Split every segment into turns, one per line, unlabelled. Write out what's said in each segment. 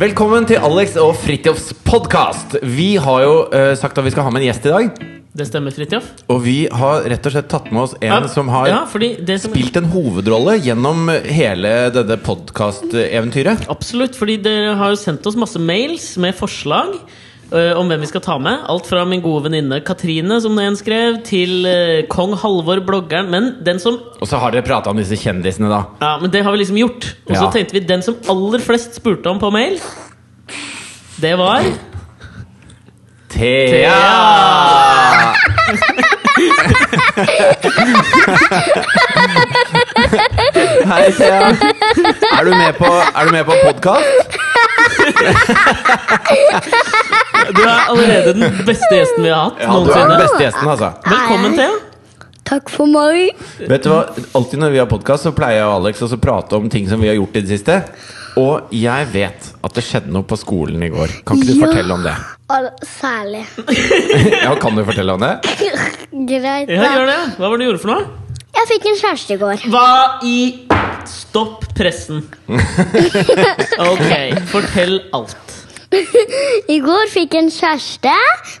Velkommen til Alex og Fritjofs podkast. Vi har jo eh, sagt at vi skal ha med en gjest i dag.
Det stemmer, Fridtjof.
Og vi har rett og slett tatt med oss en
Ja,
som har
ja, fordi det som,
spilt en hovedrolle gjennom hele dette podkasteventyret.
Absolutt, fordi dere har jo sendt oss masse mails med forslag eh, om hvem vi skal ta med. Alt fra min gode venninne Katrine, som en skrev, til eh, kong Halvor, bloggeren. Men den som
Og så har dere prata om disse kjendisene, da.
Ja, men det har vi liksom gjort. Og så
Ja.
tenkte vi den som aller flest spurte om på mail, det var
Thea! Hei, Thea. Er du med på, er du med på podkast?
Du er allerede den beste gjesten vi har hatt
Ja, du er den
noensinne.
beste gjesten, altså.
Velkommen, Thea.
Takk for meg.
Vet du hva, Alltid når vi har podkast, pleier jeg og Alex også å prate om ting som vi har gjort i det siste. Og jeg vet at det skjedde noe på skolen i går. Kan ikke du
Ja.
fortelle om det?
Og særlig.
Ja, Kan du fortelle om det?
Greit.
Ja,
da.
gjør det. Hva var det du gjorde for noe?
Jeg fikk en kjæreste i går.
Hva i Stopp pressen. Ok, fortell alt.
I går fikk jeg en kjæreste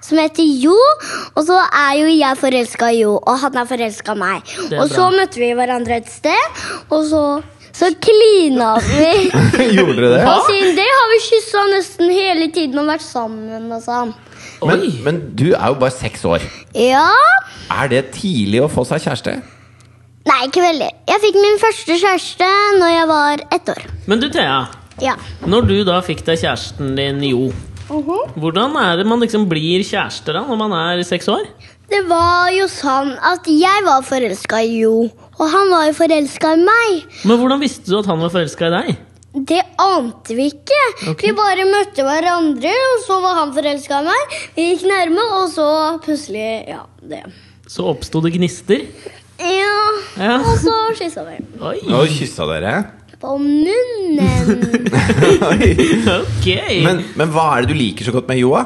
som heter Jo, og så er jo jeg forelska i Jo, og han er forelska i meg.
Det er
Og så
bra.
møtte vi hverandre et sted, og så så klina vi.
Gjorde dere det?
Hva?
Og siden det har vi kyssa nesten hele tiden og vært sammen og sånn.
Men,
Oi.
men du er jo bare seks år.
Ja.
Er det tidlig å få seg kjæreste?
Nei, ikke veldig. Jeg fikk min første kjæreste når jeg var ett år.
Men du, Thea.
Ja.
Når du da fikk deg kjæresten din, Jo,
Mhm.
hvordan er det man liksom blir kjærester da når man er seks år?
Det var jo sånn at jeg var forelska i Jo, og han var jo forelska i meg.
Men hvordan visste du at han var forelska i deg?
Det ante vi ikke.
Ok.
Vi bare møtte hverandre, og så var han forelska i meg. Vi gikk nærme, og så plutselig Ja, det.
Så oppsto det gnister.
Ja,
Ja.
Og så kyssa vi.
Oi,
Nå kyssa dere.
På munnen.
ok.
Men, men hva er det du liker så godt med Joa?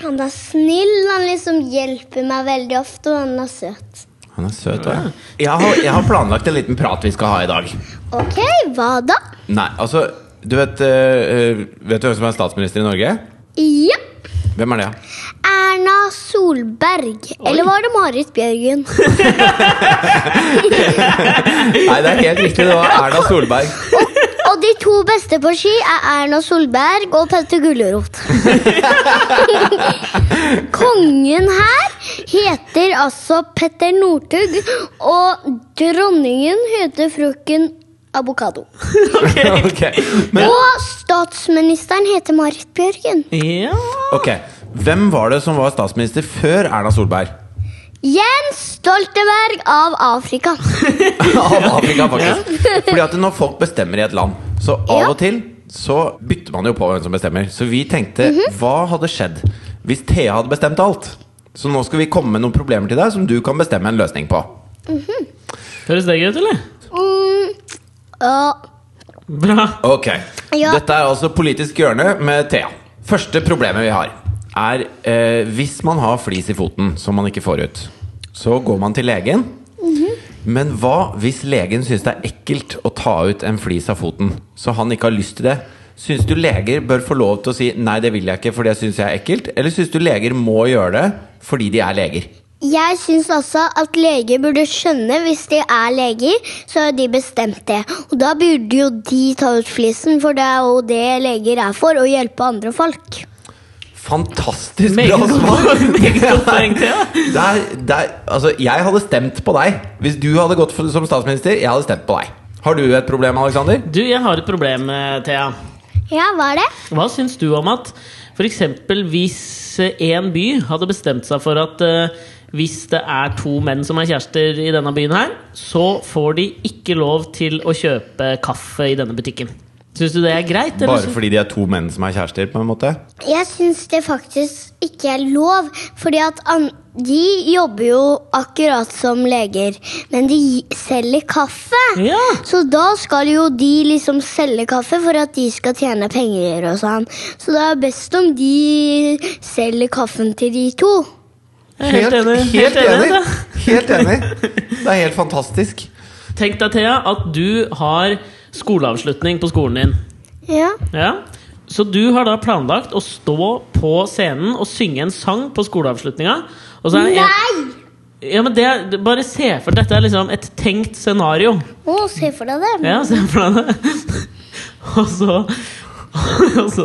Han er snill. Han liksom hjelper meg veldig ofte, og han er søt.
Han er søt. Ja. Jeg, har, jeg har planlagt en liten prat vi skal ha i dag.
Ok, hva da?
Nei, altså du vet, eh, vet du hvem som er statsminister i Norge?
Ja.
Hvem er det?
Erna Solberg. Eller var det Marit Bjørgen?
Nei, det er helt riktig. Det var Erna Solberg.
Og de to beste på ski er Erna Solberg og Petter Gulrot. Kongen her heter altså Petter Northug, og dronningen heter frøken Avokado.
Ok, Men,
Og statsministeren heter Marit Bjørgen.
Ja
ok, Hvem var det som var statsminister før Erna Solberg?
Jens Stoltenberg av Afrika.
Av Afrika, faktisk. Fordi at når folk bestemmer i et land, så av
Ja.
og til så bytter man jo på hvem som bestemmer. Så vi tenkte, hva hadde skjedd hvis Thea hadde bestemt alt? Så nå skal vi komme med noen problemer til deg som du kan bestemme en løsning på.
Høres det gøy ut, eller?
Mm. Og
Bra.
Ok,
Ja.
Dette er altså Politisk hjørne med Thea. Første problemet vi har, er eh, hvis man har flis i foten som man ikke får ut, så går man til legen. Men hva hvis legen syns det er ekkelt å ta ut en flis av foten, så han ikke har lyst til det? Syns du leger bør få lov til å si 'nei, det vil jeg ikke, for det syns jeg er ekkelt'? Eller syns du leger må gjøre det fordi de er leger?
jeg syns også at leger burde skjønne hvis de er leger, så har de bestemt det. Og da burde jo de ta ut flisen, for det er jo det leger er for, å hjelpe andre folk.
Fantastisk
Meget
bra
godt
svar!
poeng. Meget godt poeng, Thea.
Det er- det er- altså, jeg hadde stemt på deg. Hvis du hadde gått for, som statsminister, jeg hadde stemt på deg. Har du et problem, Alexander?
Du, jeg har et problem, eh, Thea.
Ja, hva er det?
Hva syns du om at f.eks. hvis én by hadde bestemt seg for at eh, hvis det er to menn som er kjærester i denne byen her, så får de ikke lov til å kjøpe kaffe i denne butikken. Syns du det er greit? eller
Bare
syns-
fordi de er to menn som er kjærester, på en måte?
Jeg syns det faktisk ikke er lov, fordi at an de jobber jo akkurat som leger, men de gi- selger kaffe.
Ja.
Så da skal jo de liksom selge kaffe for at de skal tjene penger og sånn. Så det er best om de selger kaffen til de to.
Jeg er Helt enig.
Helt
altså.
enig.
da.
Helt enig. Det er helt fantastisk.
Tenk deg, Thea, at du har skoleavslutning på skolen din.
Ja.
Ja? Så du har da planlagt å stå på scenen og synge en sang på skoleavslutninga? Og så er det en,
Nei!
ja, men det, er- bare se for dette er liksom et tenkt scenario.
Å, se for deg det.
Ja, se for deg det. Og så, og, så,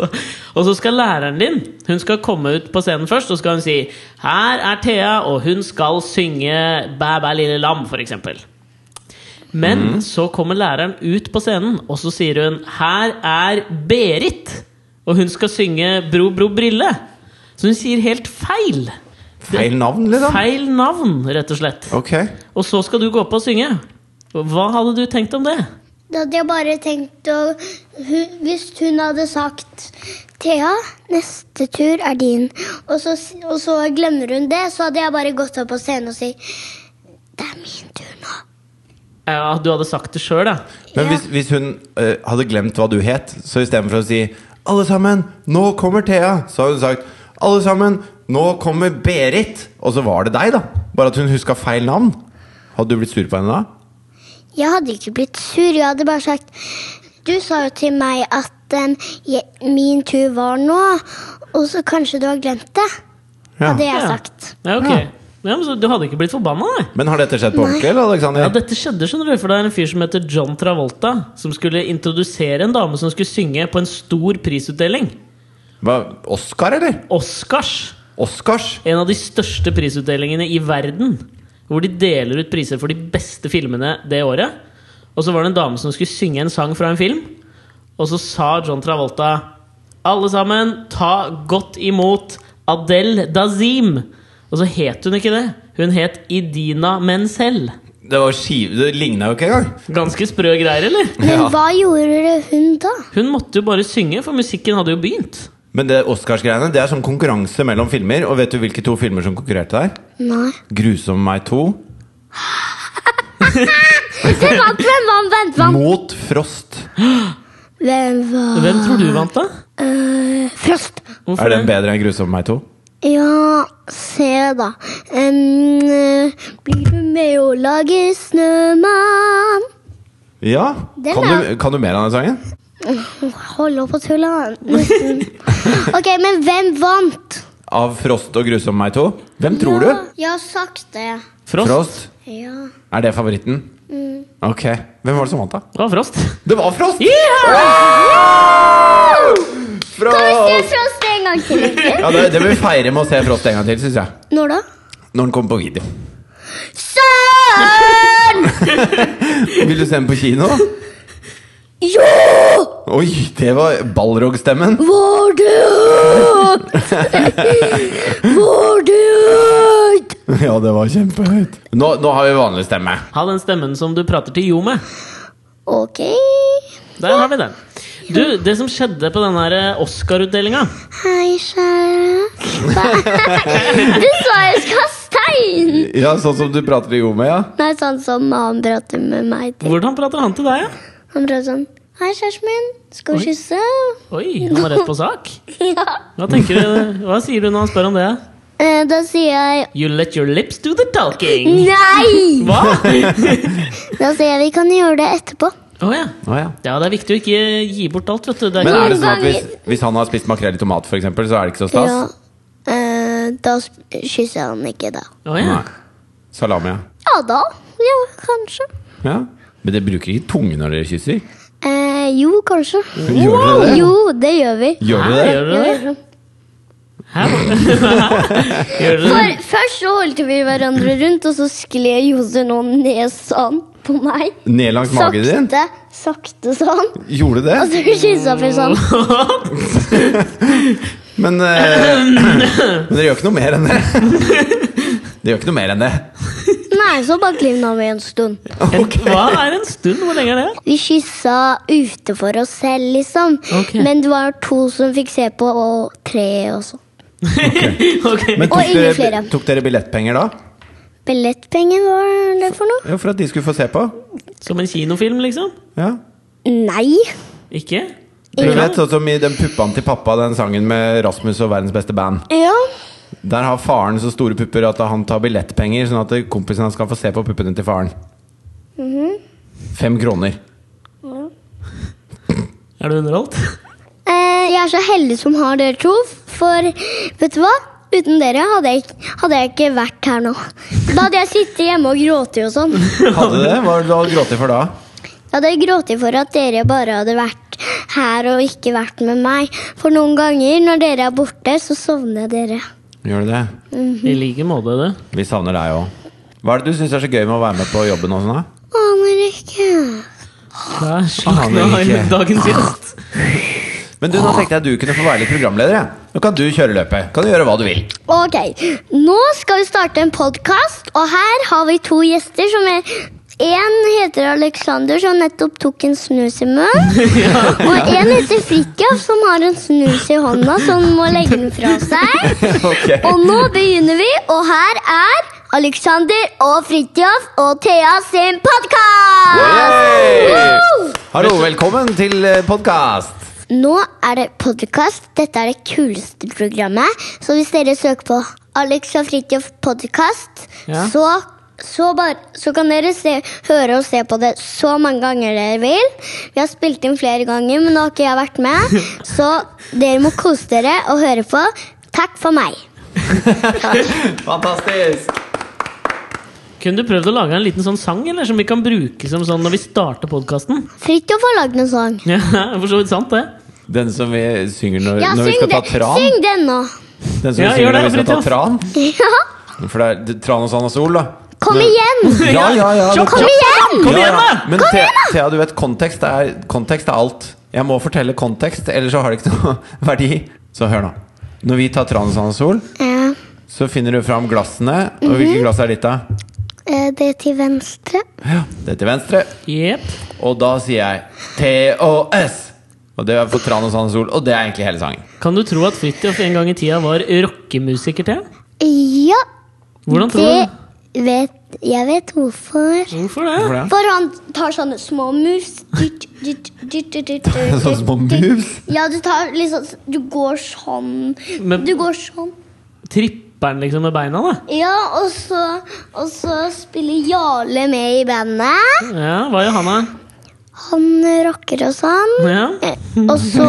og så skal læreren din Hun skal komme ut på scenen først, og så skal hun si Her er Thea, og hun skal synge Bæ, bæ, lille lam, f.eks. Men så kommer læreren ut på scenen, og så sier hun Her er Berit, og hun skal synge Bro, bro, brille. Så hun sier helt feil.
Feil navn, liksom?
Feil navn, rett og slett.
Ok.
Og så skal du gå opp og synge. Hva hadde du tenkt om det?
Da hadde jeg bare tenkt å hu- Hvis hun hadde sagt Thea, neste tur er din, og så, s- og så glemmer hun det, så hadde jeg bare gått opp på scenen og si Det er min tur nå.
Ja, du hadde sagt det sjøl, da.
Men
Ja.
hvis, hvis hun eh, hadde glemt hva du het, så istedenfor å si 'Alle sammen, nå kommer Thea', så hadde hun sagt 'Alle sammen, nå kommer Berit'. Og så var det deg, da. Bare at hun huska feil navn. Hadde du blitt sur på henne da?
Jeg hadde ikke blitt sur, jeg hadde bare sagt Du sa jo til meg at em, jeg, min tur var nå, og så kanskje du har glemt det.
Ja.
Hadde jeg
Ja.
sagt.
Ja, ok.
Ja.
Ja, men så Du hadde ikke blitt forbanna, nei?
Men har dette skjedd på ordentlig, eller, Alexander?
Ja, dette skjedde, skjønner du, for det er en fyr som heter John Travolta, som skulle introdusere en dame som skulle synge på en stor prisutdeling.
Hva, Oscar, eller?
Oscars.
Oscars?
En av de største prisutdelingene i verden. Hvor de deler ut priser for de beste filmene det året. Og så var det en dame som skulle synge en sang fra en film. Og så sa John Travolta Alle sammen, ta godt imot Adele Dazim. Og så het hun ikke det. Hun het Idina Menzel.
Det var skive, det ligna jo ikke engang.
Ganske sprø greier, eller?
Men
Ja.
hva gjorde hun da?
Hun måtte jo bare synge, for musikken hadde jo begynt.
Men det Oscars-greiene Det er sånn konkurranse mellom filmer. Og vet du hvilke to filmer som konkurrerte der?
Nei.
'Grusom meg 2'
Hvem vant, hvem vant, hvem vant?
mot Frost.
Hvem vant?
Hvem tror du vant, da?
Eh, Frost.
Hvorfor
Er den
det?
bedre enn 'Grusom meg 2'?
Ja, se da. Em, eh, blir du med å lage snømann?
Ja.
Den
Kan
er-
du, kan du mer av den sangen?
Hold opp å tulle. Nesten. Ok, men hvem vant?
Av Frost og 'Grusom meg 2'? Hvem tror du?
Jeg har sagt det.
Frost.
Frost?
Ja.
Er det favoritten?
Mm.
Ok. Hvem var det som vant, da?
Det var Frost.
Det var Frost!
Yeah!
Se
Frost!
Frost en gang til. egentlig.
Ja, det, det vil vi feire med å se Frost en gang til, syns jeg.
Når da?
Når den kommer på video.
Søren!
Vil du se den på kino?
Jo!
Oi, det var ballrogstemmen.
Var det Var det
Ja, det var kjempehøyt. Nå, nå har vi vanlig stemme.
Ha den stemmen som du prater til Jo med.
Ok.
Der har vi den. Du, det som skjedde på den her eh, Oscar-utdelinga
Hei, kjære. Nei, Du sa jeg skal ha stein!
Ja, sånn som du prater i Jome, ja.
Nei, sånn som han prater med meg til.
Hvordan prater han til deg? Ja?
Han prater sånn Hei, kjæresten min. Skal vi kysse?
Oi, han var rett på sak.
Ja.
Hva, tenker du, hva sier du når han spør om det?
Eh, da sier jeg
You let your lips do the talking.
Nei!
Hva?
Da sier jeg vi kan gjøre det etterpå.
Å ja. ja. Det er viktig å ikke gi bort alt, vet du. Det er
Men
ikke-
er det sånn at hvis, hvis han har spist makrell i tomat, for eksempel, så er det ikke så stas?
Ja. Eh, da sp- kysser han ikke, da.
Å, ja.
Nei. Salami, ja.
Ja da. Ja, kanskje.
ja. Men dere bruker ikke tunge når dere kysser?
Eh, jo, kanskje.
Gjør dere det?
Jo, det gjør vi.
Gjør dere
Hæ,
det?
Gjør du det?
Ja.
Hæ? Gjør du det?
For, først så holdt vi hverandre rundt, og så skled Jose nå ned sånn på meg.
Ned langs magen din?
Sakte, sakte sånn.
Gjorde det?
Og så kyssa vi sånn.
Men, eh, men dere gjør ikke noe mer enn det? Dere gjør ikke noe mer enn det?
Nei, så bare klivna vi en stund.
En, hva er en stund? Hvor lenge er det?
Vi kyssa ute for oss selv, liksom.
Ok.
Men det var to som fikk se på, og tre også.
Ok.
Men
Og
tok
ingen
dere,
flere.
tok dere billettpenger da?
Billettpenger, hva er det for noe?
Ja, for at de skulle få se på?
Som en kinofilm, liksom?
Ja.
Nei.
Ikke?
Du vet, sånn som i den puppaen til pappa, den sangen med Rasmus og verdens beste band.
Ja.
Der har faren så store pupper at han tar billettpenger, sånn at kompisen hans kan få se på puppene til faren.
Mhm.
Fem kroner.
Er du underholdt?
Eh, jeg er så heldig som har dere to, for vet du hva? Uten dere hadde jeg, ikk- hadde jeg ikke vært her nå. Da hadde jeg sittet hjemme og grått og sånn.
Hadde du det? Hva hadde du grått for da?
Jeg hadde grått for at dere bare hadde vært her og ikke vært med meg. For noen ganger når dere er borte, så sovner jeg dere.
Gjør du det? Mhm.
I like måte, det.
Vi savner deg òg. Hva er det du syns er så gøy med å være med på jobben? og sånn da?
Aner ikke.
Der slukna
Aner ikke.
dagens gjest.
Men du, nå tenkte jeg at du kunne få være litt programleder. jeg. Nå kan du kjøre løpet. Kan du gjøre hva du vil.
Ok, nå skal vi starte en podkast, og her har vi to gjester som er en heter Alexander, som nettopp tok en snus i munnen. Og en heter Fridtjof, som har en snus i hånda, som må legge den fra seg.
Ok.
Og nå begynner vi, og her er Alexander og Fridtjof og Thea sin
Yay!
podkast!
Hallo, velkommen til eh, podkast.
Nå er det podkast. Dette er det kuleste programmet. Så hvis dere søker på Alex og Fridtjof podkast,
Ja.
så, så, bare- så kan dere se, høre og se på det så mange ganger dere vil. Vi har spilt inn flere ganger, men nå har ikke jeg vært med. Så dere må kose dere og høre på. Takk for meg.
Fantastisk.
Kunne du prøvd å lage en liten sånn sang eller, som vi kan bruke som sånn når vi starter podkasten?
Fridtjof har lagd en sang.
Ja, for så vidt sant, det.
Den som vi synger når,
Ja,
når vi
syng,
skal ta
det-
tran.
syng den nå.
Den som vi
Ja,
synger når
gjør det,
vi skal ta
Fridtjof.
tran.
Ja.
For det er det- Tran og Sand og Sol, da.
Kom
Det-
igjen!
Ja, ja, ja. det-
Kom igjen!
Kom
Ja, ja.
igjen, da!
Men Thea, Thea, du vet, kontekst er, kontekst er alt. Jeg må fortelle kontekst, ellers så har det ikke noe verdi. Så hør nå. Når vi tar tran og Sand og Sol,
Ja,
så finner du fram glassene. Og hvilke glass er ditt, da?
eh, det til venstre.
Mhm. Ja, det er til venstre.
Jepp.
Og da sier jeg TOS. Og det er for Tran og Sand og Sol, og det er egentlig hele sangen.
Kan du tro at Fridtjof en gang i tida var rockemusiker til?
Ja.
Hvordan tror du?
Det vet Jeg vet hvorfor.
Hvorfor det?
Hvorfor det?
For han tar sånne små mus. Dytt, dytt, dytt, dytt, dytt, dytt.
Sånne små mus?
Ja, du tar liksom Du går sånn.
Men-
Du går sånn.
Tripper han liksom med beina, da?
Ja, og så, og så spiller Jarle med i bandet.
Ja, hva gjør han, da?
Han rocker og sånn.
Ja.
Eh, Og så,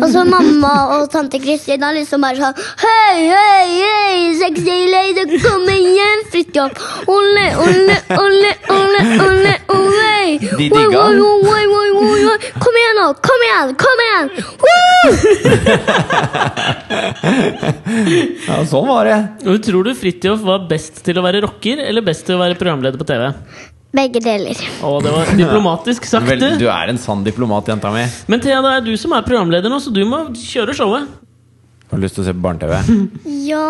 og så mamma og tante Kristin har liksom bare sånn Hei, hei, hei, sexy lady, kom igjen, Fridtjof. Olle, olle, olle, olle, olle, olle.
De digga
Oi,
den.
oi, oi, oi, oi, oi. Kom igjen nå, kom igjen, kom igjen. Woo!
Ja, sånn var det.
Og Tror du Fridtjof var best til å være rocker eller best til å være programleder på TV?
Begge deler.
Å, det var diplomatisk sagt,
Vel,
du.
du er en sann diplomat, jenta mi.
Men Thea, det er du som er programleder nå, så du må kjøre showet.
Har du lyst til å se på barne-TV?
Ja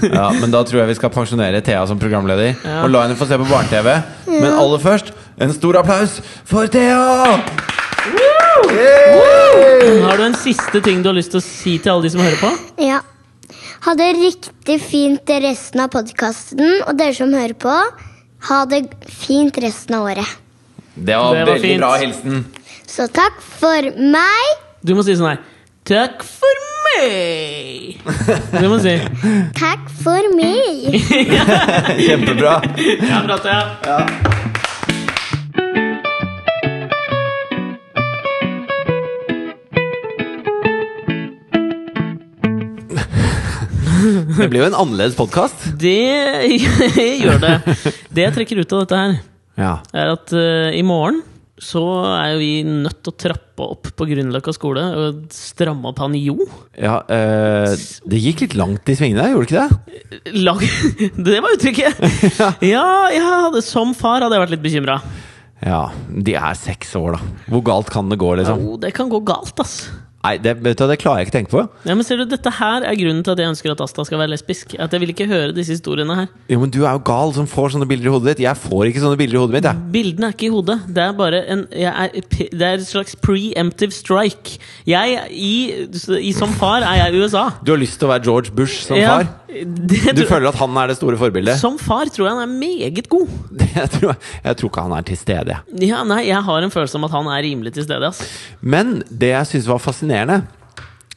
Ja, men da tror jeg vi skal pensjonere Thea som programleder og la henne få se på barne-TV. Men aller først, en stor applaus for Thea! Yay!
Har du en siste ting du har lyst til å si til alle de som hører på?
Ja. Ha det riktig fint resten av podkasten, og dere som hører på, ha det fint resten av året.
Det var,
Det var
veldig
fint.
bra hilsen.
Så takk for meg.
Du må si sånn her Takk for meg! Det må du si.
Takk for meg.
Kjempebra.
Ja, bra, Thea.
Det blir jo en annerledes podkast.
Det gjør det. Det jeg trekker ut av dette her,
Ja.
er at eh, i morgen så er jo vi nødt til å trappe opp på Grünerløkka skole og stramme opp han Jo.
ja eh, det gikk litt langt i svingene, gjorde det ikke det?
Lag Det var uttrykket! Ja, jeg hadde, som far hadde jeg vært litt bekymra.
Ja, De er seks år, da. Hvor galt kan det gå, liksom?
Jo, det kan gå galt, ass.
Nei, det, vet du, hva, det klarer jeg ikke tenke på.
Ja, men ser du, Dette her er grunnen til at jeg ønsker at Asta skal være lesbisk. At Jeg vil ikke høre disse historiene her.
Jo, men Du er jo gal som får sånne bilder i hodet ditt. Jeg får ikke sånne bilder i hodet mitt. jeg
Bildene er ikke i hodet. Det er bare en jeg er, p- Det er et slags preemptive strike. Jeg, i, i, Som far er jeg i USA.
Du har lyst til å være George Bush som
Ja,
far?
det
Du
tror-
føler at han er det store forbildet?
Som far tror jeg han er meget god.
Jeg tror, jeg tror ikke han er til stede. jeg.
Ja, nei, Jeg har en følelse om at han er rimelig til stede. Ass.
Men det jeg syns var fascinerende,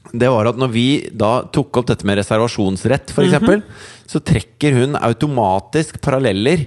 det var at når vi da tok opp dette
Mhm.
med reservasjonsrett, f.eks., eksempel så trekker hun automatisk paralleller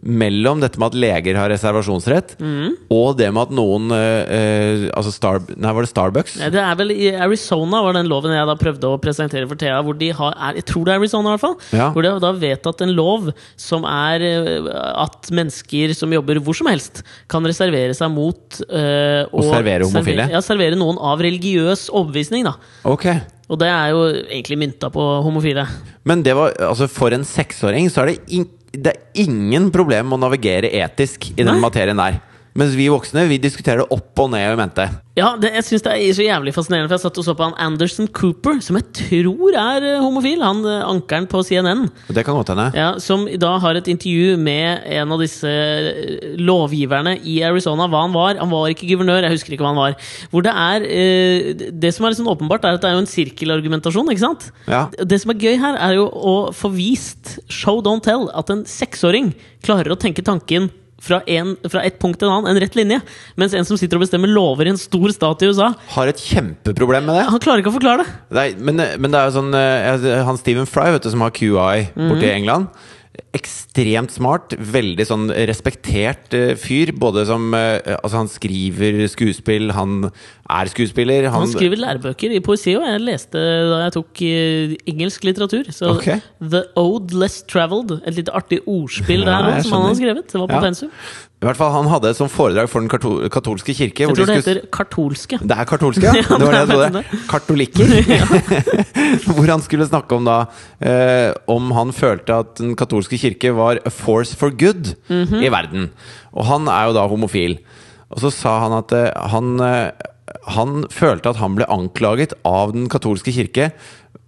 mellom dette med at leger har reservasjonsrett,
Mhm.
og det med at noen eh, eh, Altså Star... Nei, var det Starbucks?
Nei, Det er vel i Arizona var den loven jeg da prøvde å presentere for Thea. Hvor de har, er, jeg tror det er Arizona i hvert fall.
Ja.
Hvor de har da vedtatt en lov som er eh, at mennesker som jobber hvor som helst, kan reservere seg mot eh, å
servere homofile?
servere- ja, servere noen av religiøs overbevisning, da.
Ok.
Og det er jo egentlig mynta på homofile.
Men det var Altså, for en seksåring så er det, in det er ingen problem med å navigere etisk i den
Nei.
materien der. Mens vi voksne, vi diskuterer det opp og ned og i mente.
Ja, det, jeg synes det er så jævlig fascinerende, for jeg satt og så på han Anderson Cooper, som jeg tror er eh, homofil. Han eh, ankeren på CNN.
Og det kan godt hende.
Ja, som da har et intervju med en av disse eh, lovgiverne i Arizona. Hva han var. Han var ikke guvernør, jeg husker ikke hva han var. Hvor det er eh, Det som er litt sånn åpenbart, er at det er jo en sirkelargumentasjon, ikke sant?
Ja.
Det som er gøy her, er jo å få vist, show don't tell, at en seksåring klarer å tenke tanken fra, en, fra et punkt til en annen, en rett linje. Mens en som sitter og bestemmer lover i en stor stat i USA,
Har et kjempeproblem med det.
han klarer ikke å forklare det.
Nei, men, men det er jo sånn eh, jeg- Han Stephen Fry, vet du, som har QI borte
Mhm.
i England. Ekstremt smart, veldig sånn respektert eh, fyr. Både som eh, Altså, han skriver skuespill, han er skuespiller. Han,
Han skriver lærebøker i poesi òg. Jeg leste da jeg tok eh, engelsk litteratur. Så
Ok.
The Ode Less Traveled. Et litt artig ordspill
Ja,
der
jeg
også, som han har
skjønner.
skrevet. Det var på
Ja.
pensum.
I hvert fall, han hadde et sånt foredrag for Den kato- katolske kirke.
Jeg
hvor de
tror det
skulle-
heter kartolske.
Det er katolske, ja.
Ja,
Det var det
det
jeg
er
trodde. Kartolikker. Hvor han skulle snakke om da eh, om han følte at den katolske kirke var a force for good
Mhm.
i verden. Og han er jo da homofil. Og så sa han at eh, han, eh, han følte at han ble anklaget av den katolske kirke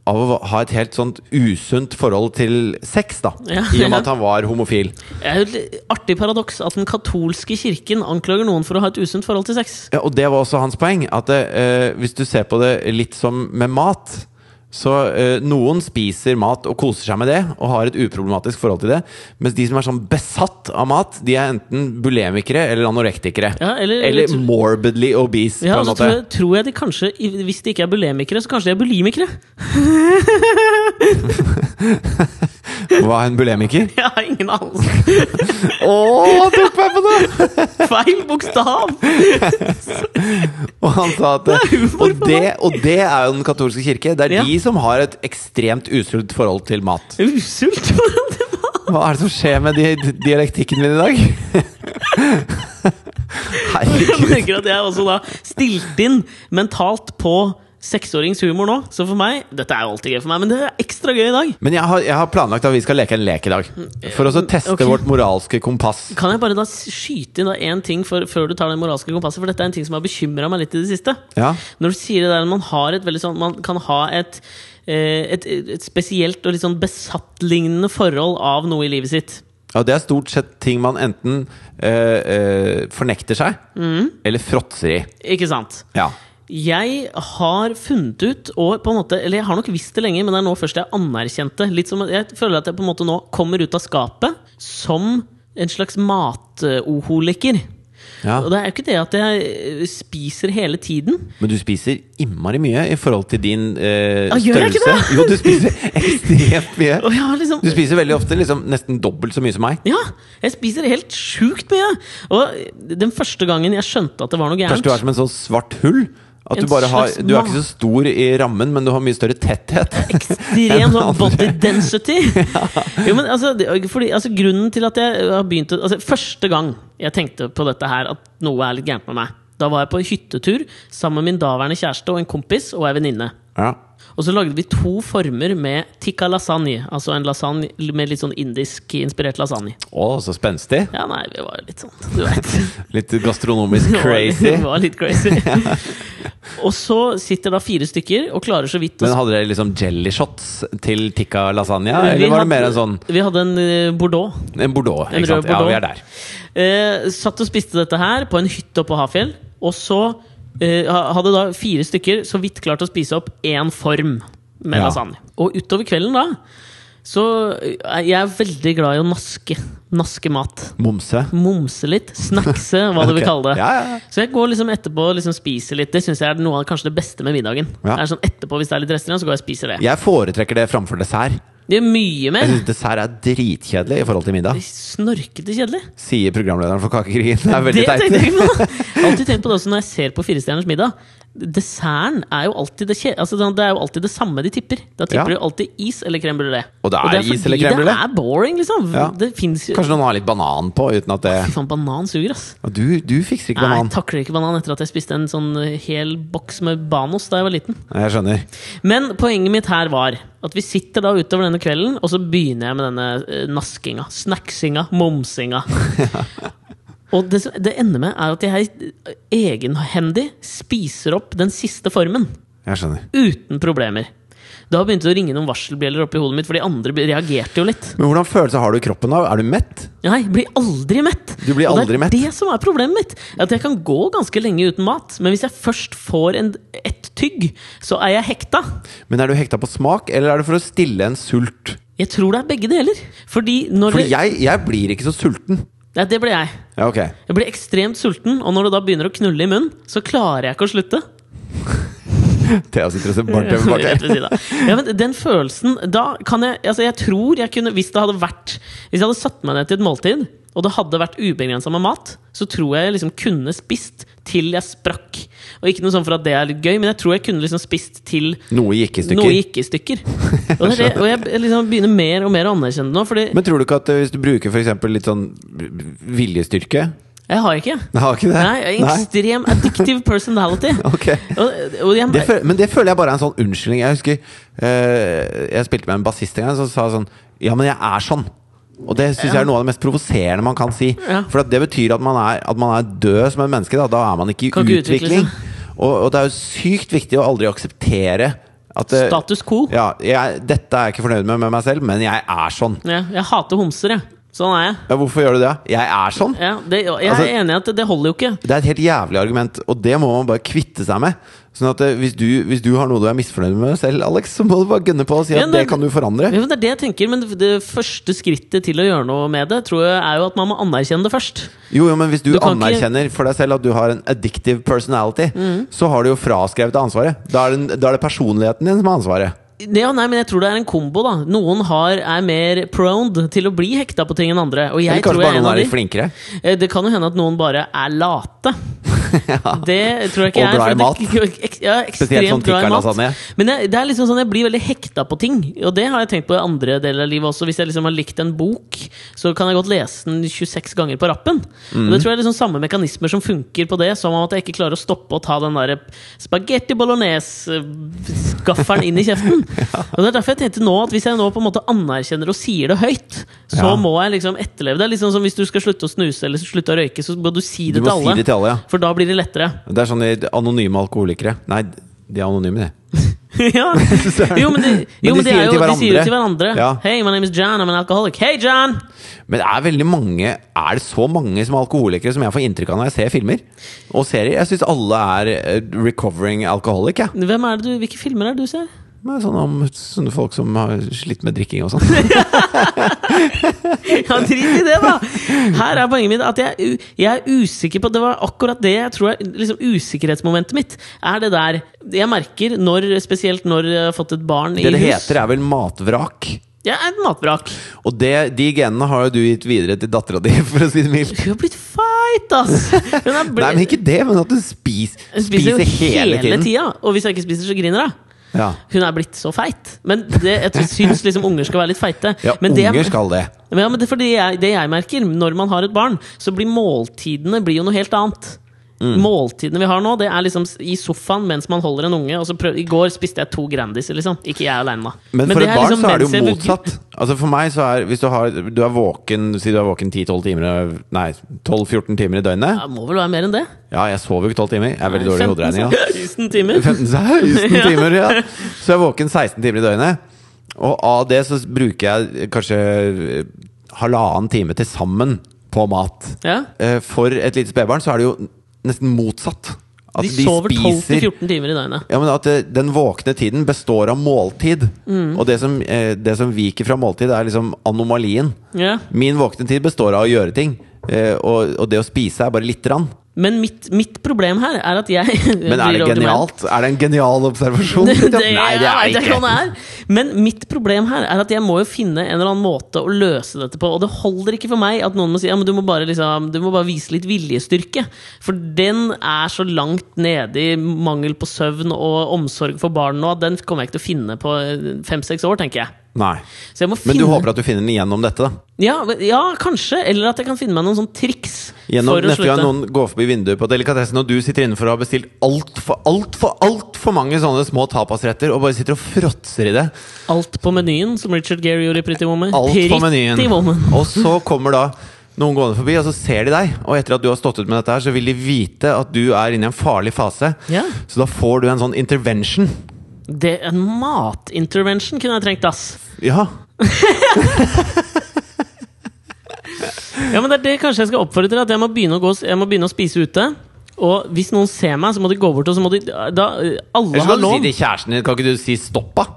av å ha et helt sånt usunt forhold til sex, da.
Ja,
I og med
ja.
at han var homofil.
Det er jo et litt artig paradoks at den katolske kirken anklager noen for å ha et usunt forhold til sex.
Ja, og det var også hans poeng. At eh, hvis du ser på det litt som med mat så eh, Noen spiser mat og koser seg med det og har et uproblematisk forhold til det. Mens de som er sånn besatt av mat, de er enten bulemikere eller anorektikere.
Ja, eller-
eller morbidly obese,
Ja,
på
og
en
så
måte.
tror jeg, tror jeg de kanskje, i- Hvis de ikke er bulemikere, så kanskje de er bulimikere.
Hva er en bulemiker?
Jeg har ingen anelse.
Å, tok meg på noe!
Feil bokstav!
Og han sa at
Det er humor
og
for
det, og det er jo den katolske kirke. Det er
Ja.
de som har et ekstremt usult forhold til mat.
Usult!
Hva er det som skjer med di dialektikken min i dag?
Jeg
Herregud.
tenker at jeg også da stilt inn mentalt på seksåringshumor nå. Så for meg Dette er jo alltid gøy for meg, men det er ekstra gøy i dag.
Men jeg har, jeg har planlagt at vi skal leke en lek i dag. For å så teste
Mm, Ok.
vårt moralske kompass.
Kan jeg bare da skyte inn da én ting for, før du tar det moralske kompasset? For dette er en ting som har bekymra meg litt i det siste.
Ja.
Når du sier det der man har et veldig sånn Man kan ha et eh, et, et spesielt og litt sånn besattlignende forhold av noe i livet sitt.
Og det er stort sett ting man enten eh, eh, fornekter seg,
Mm.
eller fråtser i.
Ikke sant?
Ja.
Jeg har funnet ut, og på en måte, eller jeg har nok visst det lenge, men det er nå først jeg anerkjente litt som, Jeg føler at jeg på en måte nå kommer ut av skapet som en slags matoholiker.
ja.
Og det er jo ikke det at jeg eh, spiser hele tiden.
Men du spiser innmari mye i forhold til din eh,
Ah, gjør jeg ikke
størrelse. Jo, du spiser ekstremt mye.
Og jeg har liksom
Du spiser veldig ofte liksom, nesten dobbelt så mye som meg.
Ja! Jeg spiser helt sjukt mye! Og den første gangen jeg skjønte at det var noe
Kanskje
gærent
du er som en sånn svart hull? At
En
du bare har
slags
Du er
ma-
ikke så stor i rammen, men du har mye større tetthet.
Ekstrem sånn body density! Jo, men altså, det, fordi, altså Grunnen til at jeg har begynt å- altså, Første gang jeg tenkte på dette her, at noe er litt gærent med meg, da var jeg på en hyttetur sammen med min daværende kjæreste og en kompis og ei venninne.
Ja.
Og så lagde vi to former med tikka lasagne, altså en lasagne med litt sånn indisk inspirert lasagne.
Å, så spenstig.
Ja, nei, vi var jo litt sånn, du vet
Litt gastronomisk crazy.
Det var litt crazy. og så sitter da fire stykker og klarer så vidt å
Men hadde dere liksom jelly shots til tikka lasagne?
Vi
Eller var
hadde-
det mer en sånn
Vi hadde en eh, bordeaux.
en bordeaux?
En
Ikke sant?
rød
Ja,
bordeaux.
vi er der.
Eh, satt og spiste dette her på en hytte oppe på Hafjell. Og så eh, ha- hadde da fire stykker så vidt klart å spise opp én form med
Ja.
lasagne. Og utover kvelden da så eh, Jeg er veldig glad i å naske. Naske mat.
Momse.
Momse litt. Snackse, hva du
Ok.
vil kalle det.
Ja, ja, ja.
Så jeg går liksom etterpå og liksom spiser litt. Det syns jeg er noe av kanskje det beste med middagen.
Ja.
Det er sånn etterpå Hvis det er litt rester igjen, så går jeg og spiser det.
Jeg foretrekker det framfor dessert.
De gjør mye mer.
Jeg synes dessert er dritkjedelig i forhold til middag,
Snorkete kjedelig.
sier programlederen for Kakekrigen. Det er veldig
Det tenkte jeg
teit.
ikke på! Jeg har alltid tenkt på det også når jeg ser på Firestjerners middag. Desserten er jo alltid det, kje- altså, sånn, det er jo alltid det samme de tipper. Da tipper
Ja.
de jo alltid is eller crème brulé.
Og det er is eller crème
det
brûlée.
er boring, liksom.
Ja.
Det finnes jo
Kanskje noen har litt banan på uten at det
Fy faen, banan suger, ass.
Og Du, du fikser ikke
Nei,
banan.
jeg takler ikke banan etter at jeg spiste en sånn eh, hel boks med Banos da jeg var liten.
Jeg skjønner.
Men poenget mitt her var at vi sitter da utover denne kvelden, og så begynner jeg med denne eh, naskinga, snacksinga, momsinga. og det, som- det ender med er at jeg eh, egenhendig spiser opp den siste formen.
Jeg skjønner.
Uten problemer. Da begynte det å ringe noen varselbjeller oppi hodet mitt, for de andre be- reagerte jo litt.
Men hvordan følelse har du i kroppen da? Er du mett?
Nei, blir aldri mett.
Du blir aldri
og
mett.
det er det som er problemet mitt. At jeg kan gå ganske lenge uten mat, men hvis jeg først får en, et tygg, så er jeg hekta.
Men er du hekta på smak, eller er det for å stille en sult?
Jeg tror det er begge deler. Fordi når
Fordi
det,
jeg, jeg blir ikke så sulten.
Nei, det ble jeg.
Ja, ok.
Jeg blir ekstremt sulten, og når det da begynner å knulle i munnen, så klarer jeg ikke å slutte.
Thea sitter og ser barnt over bak
Rett
her.
ved siden av. Ja, men den følelsen Da kan jeg Altså, jeg tror jeg kunne Hvis det hadde vært Hvis jeg hadde satt meg ned til et måltid, og det hadde vært ubegrensa med mat, så tror jeg jeg liksom kunne spist til jeg sprakk. Og ikke noe sånn for at det er litt gøy, men jeg tror jeg kunne liksom spist til
Noe gikk i
noe
stykker.
gikk i stykker. Og, det er det, og jeg jeg liksom begynner mer og mer å anerkjenne det nå, fordi
Men tror du ikke at eh, hvis du bruker for eksempel litt sånn viljestyrke
jeg har ikke.
Nei, har ikke det?
Nei, jeg er en ekstrem addictive personality.
Ok.
Og, og jeg,
Det føl- men det føler jeg bare er en sånn unnskyldning. Jeg husker eh, jeg spilte med en bassist en gang som sa sånn Ja, men jeg er sånn. Og det syns jeg er noe av det mest provoserende man kan si.
Ja.
For at det betyr at man, er, at man er død som et menneske. Da, da er man ikke i
Kan ikke utvikle
utvikling. Og, og det er jo sykt viktig å aldri akseptere at eh,
status quo.
ja, jeg, Dette er jeg ikke fornøyd med med meg selv, men jeg er sånn.
Ja, jeg hater homser, jeg. Sånn er jeg.
Ja, hvorfor gjør du det? Jeg er sånn.
Ja, det, jeg
Altså-
er enig i at det holder jo ikke.
Det er et helt jævlig argument, og det må man bare kvitte seg med. Sånn at eh, hvis du, hvis du har noe du er misfornøyd med selv, Alex, så må du bare gønne på og si
Ja,
at det
det-
kan du forandre.
Ja, men det er det jeg tenker, men det første skrittet til å gjøre noe med det, tror jeg er jo at man må anerkjenne det først.
Jo, jo, men hvis du,
Du kan ikke- Mm.
anerkjenner for deg selv at du har en addictive personality, så har du jo fraskrevet deg ansvaret. Da er, det, da er det personligheten din som har ansvaret.
Ja, nei, men jeg tror det er en kombo, da. Noen har, er mer proned til å bli hekta på ting enn andre. Og jeg
Eller kanskje
tror jeg
bare
er en
noen er
av de.
litt flinkere.
Eh, Det kan jo hende at noen bare er late.
ja.
Det tror jeg ikke
Og
jeg er.
glad i
for det- ek- Ja,
Spesielt sånn
ekstremt glad i mat.
tikkerlasagne.
Men jeg, det er liksom sånn, jeg blir veldig hekta på ting. Og det har jeg tenkt på i andre deler av livet også. Hvis jeg liksom har likt en bok, så kan jeg godt lese den 26 ganger på rappen.
Mhm.
Og det tror jeg er liksom samme mekanismer som funker på det, som om at jeg ikke klarer å stoppe å ta den der spagetti bolognese-skafferen inn i kjeften. Og det er derfor jeg tenkte nå at hvis jeg nå på en måte anerkjenner og sier det høyt, så
Ja.
må jeg liksom etterleve det. Det er Liksom som hvis du skal slutte å snuse eller slutte å røyke, så må du si
Du
det,
må
til, alle,
si det til alle, ja.
For da blir det lettere.
Det er sånn de anonyme alkoholikere. Nei, de er anonyme, de.
ja. Jo, men, det, jo, men de, er jo, de sier det til hverandre.
Ja.
Hey, my name is John, I'm an alcoholic. Hey, John!
Men det er veldig mange Er det så mange som er alkoholikere som jeg får inntrykk av når jeg ser filmer og serier? Jeg syns alle er eh, recovering alcoholic, jeg.
Hvem er det du, hvilke filmer er det du ser?
Ja. Sånn om sånne folk som har slitt med drikking og sånn.
Ja, drit i det, da! Her er poenget mitt at jeg, er u- jeg er usikker på Det var akkurat det jeg tror er liksom usikkerhetsmomentet mitt. Er det der Jeg merker, når, spesielt når jeg har fått et barn i
Det det
hus
heter, er vel matvrak.
Jeg er et matvrak.
Og det, de genene har jo du gitt videre til dattera di, for å si det mildt.
Hun har blitt feit, ass! Hun er ble-
Nei, men ikke det, men at du spis,
hun
spiser,
spiser jo
hele tiden.
tida. Og hvis jeg ikke spiser, så griner hun.
Ja,
Hun er blitt så feit. Men det, jeg syns liksom unger skal være litt feite.
ja
men det,
unger skal det.
Men Ja, men det, er fordi jeg, det jeg merker, når man har et barn, så blir måltidene blir jo noe helt annet.
Mm.
Måltidene vi har nå, det er liksom s- i sofaen mens man holder en unge. Og så prøv, I går spiste jeg to Grandiser, liksom. Ikke jeg aleine, da.
Men for
det
et
er
barn
liksom
så er det
mens
jo
jeg-
motsatt. Altså For meg så er Hvis du, har, du er våken Si du er våken 10-12 timer Nei, 12-14 timer i døgnet.
Ja, må vel være mer enn det?
Ja, jeg sover jo ikke 12 timer. Jeg er veldig dårlig i
15
hoderegninga.
16 timer.
15-16 timer, ja. Så jeg er våken 16 timer i døgnet. Og av det så bruker jeg kanskje eh, halvannen time til sammen på mat.
Ja.
Eh, For et lite spedbarn så er det jo nesten motsatt. At
De sover 12-14 timer i døgnet.
ja, men at eh, Den våkne tiden består av måltid.
Mm.
Og det som, eh, det som viker fra måltid, er liksom anomalien.
Ja.
Min våkne tid består av å gjøre ting. eh, Og, og det å spise er bare lite grann.
Men mitt, mitt problem her er at jeg
Men er det genialt? Er det en genial observasjon?
Det, det,
Nei, det er
jeg vet
det
ikke hva
ikke.
det er. Men mitt problem her er at jeg må jo finne en eller annen måte å løse dette på. Og det holder ikke for meg at noen må si ja, men du må bare, liksom, du må bare vise litt viljestyrke. For den er så langt nede i mangel på søvn og omsorg for barn nå at den kommer jeg ikke til å finne på eh, fem-seks år, tenker jeg.
Nei.
Så jeg må
Men
finne
du håper at du finner den igjennom dette? da?
ja, men- ja, kanskje. Eller at jeg kan finne meg noen sånne triks.
Gjennom
for å
neste gang
slutte.
noen går forbi vinduet på delikatessen, og du sitter innenfor og har bestilt altfor, altfor, altfor mange sånne små tapasretter, og bare sitter og fråtser i det.
Alt på menyen, som Richard Gere gjorde i Pretty Woman.
Alt
Pretty
på menyen.
Woman.
Og så kommer da noen gående forbi, og så ser de deg. Og etter at du har stått ut med dette her, så vil de vite at du er inne i en farlig fase.
Ja.
Så da får du en sånn intervention.
Det, en matintervention kunne jeg trengt, ass.
Ja.
Ja, men det er det kanskje jeg skal oppfordre til. At jeg må begynne å, gå, jeg må begynne å spise ute. Og hvis noen ser meg, så må de gå bort, og så må de da, Alle
Eller så
har
kan du si
lov.
til kjæresten din, kan ikke du si stopp, da?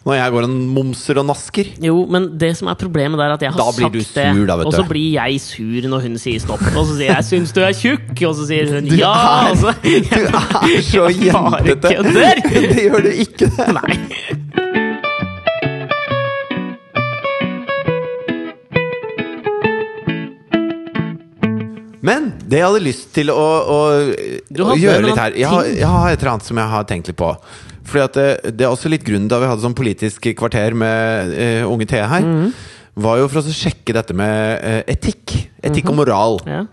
Når jeg går og momser og nasker.
Jo, men det som er problemet, det er at jeg har
Da blir
sagt
du
det.
sur da, vet
og så
du.
blir jeg sur når hun sier stopp. Og så sier jeg 'syns du er tjukk', og så sier hun
Du
'ja'.
er-
og så,
Du er så
Jeg bare
jentete!
kødder.
Det gjør du ikke. det.
Nei.
Men det jeg hadde lyst til å, å,
Du
å
hadde
gjøre
en
litt her
annen
jeg har,
ting.
jeg har et eller annet som jeg har tenkt litt på. Fordi at eh, det, det er også litt grunnen da vi hadde sånn politisk kvarter med eh, Unge T her,
Mhm.
var jo for oss å sjekke dette med eh, etikk. Etikk og moral.
Mhm. Ja.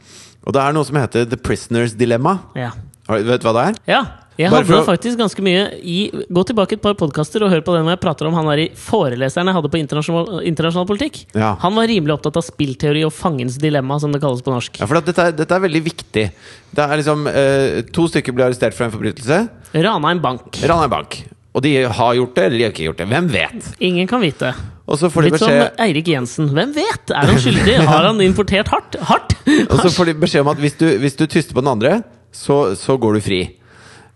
Og det er noe som heter The Prisoner's Dilemma.
ja.
Har- Vet du hva det er?
Ja. Jeg
Bare for
havna
å-
faktisk ganske mye i Gå tilbake et par podkaster og hør på den hvor jeg prater om han der i foreleseren jeg hadde på internasjonal, internasjonal politikk.
Ja.
Han var rimelig opptatt av spillteori og fangens dilemma, som det kalles på norsk.
Ja, for at dette, er, dette er veldig viktig. Det er liksom eh, To stykker blir arrestert for en forbrytelse.
Rana en bank.
Rana en bank. Og de har gjort det, eller de har ikke gjort det. Hvem vet?
Ingen kan vite.
Og så får de
Litt sånn som
beskjed
Eirik Jensen. Hvem vet? Er han skyldig? Har han importert hardt? Hardt?
Og så får de beskjed om at hvis du, hvis du tyster på den andre, så, så går du fri.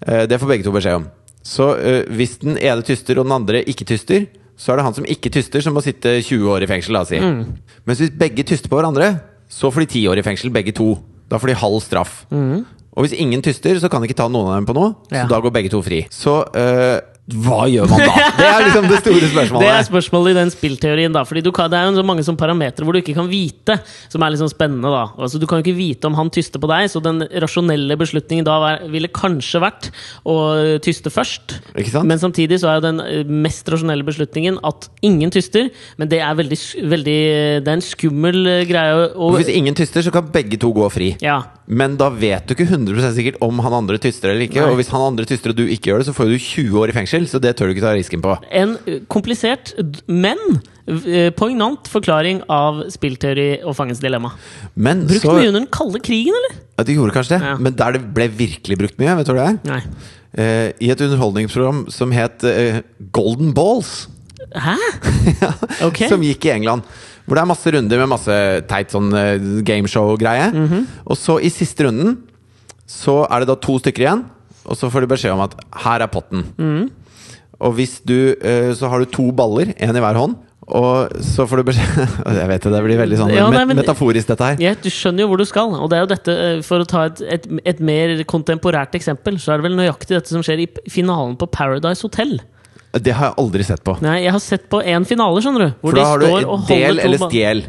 Eh, det får begge to beskjed om. Så eh, hvis den ene tyster og den andre ikke tyster, så er det han som ikke tyster, som må sitte 20 år i fengsel. La oss si.
Mm.
Mens hvis begge tyster på hverandre, så får de 10 år i fengsel, begge to. Da får de halv straff. Og hvis ingen tyster, så kan de ikke ta noen av dem på noe,
Mm. Ja.
så da går begge to fri. Så eh, hva gjør man da? Det er liksom det store spørsmålet.
Det er spørsmålet i den spillteorien, da. Fordi du kan, det er jo så mange sånn parametere hvor du ikke kan vite, som er litt sånn spennende, da. Altså, du kan jo ikke vite om han tyster på deg, så den rasjonelle beslutningen da var, ville kanskje vært å tyste først.
Ikke sant?
Men samtidig så er jo den eh, mest rasjonelle beslutningen at ingen tyster, men det er veldig, s- veldig Det er en skummel eh, greie å
Og
å-
hvis ingen tyster, så kan begge to gå fri.
Ja.
Men da vet du ikke 100 sikkert om han andre tyster eller ikke.
Nei.
Og hvis han andre tyster og du ikke gjør det, så får du 20 år i fengsel. Så det tør du ikke ta risken på.
En eh, komplisert, d- men eh, poignant forklaring av spillteori og fangens dilemma.
Men
Brukt
så
mye under den kalde krigen, eller?
ja, Du gjorde kanskje det,
Ja.
men der det ble virkelig brukt mye, vet du hva det er?
Nei.
Eh, I et underholdningsprogram som het eh, Golden Balls.
Hæ? Ok.
Som gikk i England. Hvor det er masse runder med masse teit sånn eh, gameshow-greie.
Mhm.
Og så i siste runden så er det da to stykker igjen, og så får du beskjed om at her er potten.
Mhm.
Og hvis du eh, Så har du to baller, én i hver hånd. Og så får du beskjed Jeg vet det, det blir veldig sånn
Ja, nei,
met
men-
metaforisk, dette her.
Ja, du skjønner jo hvor du skal. Og det er jo dette, eh, For å ta et, et, et mer kontemporært eksempel, så er det vel nøyaktig dette som skjer i p- finalen på Paradise Hotel.
Det har jeg aldri sett på.
Nei, Jeg har sett på én finale, skjønner du. Hvor
For da har
de står
du
og
del
holder
eller
to ba-
stjel.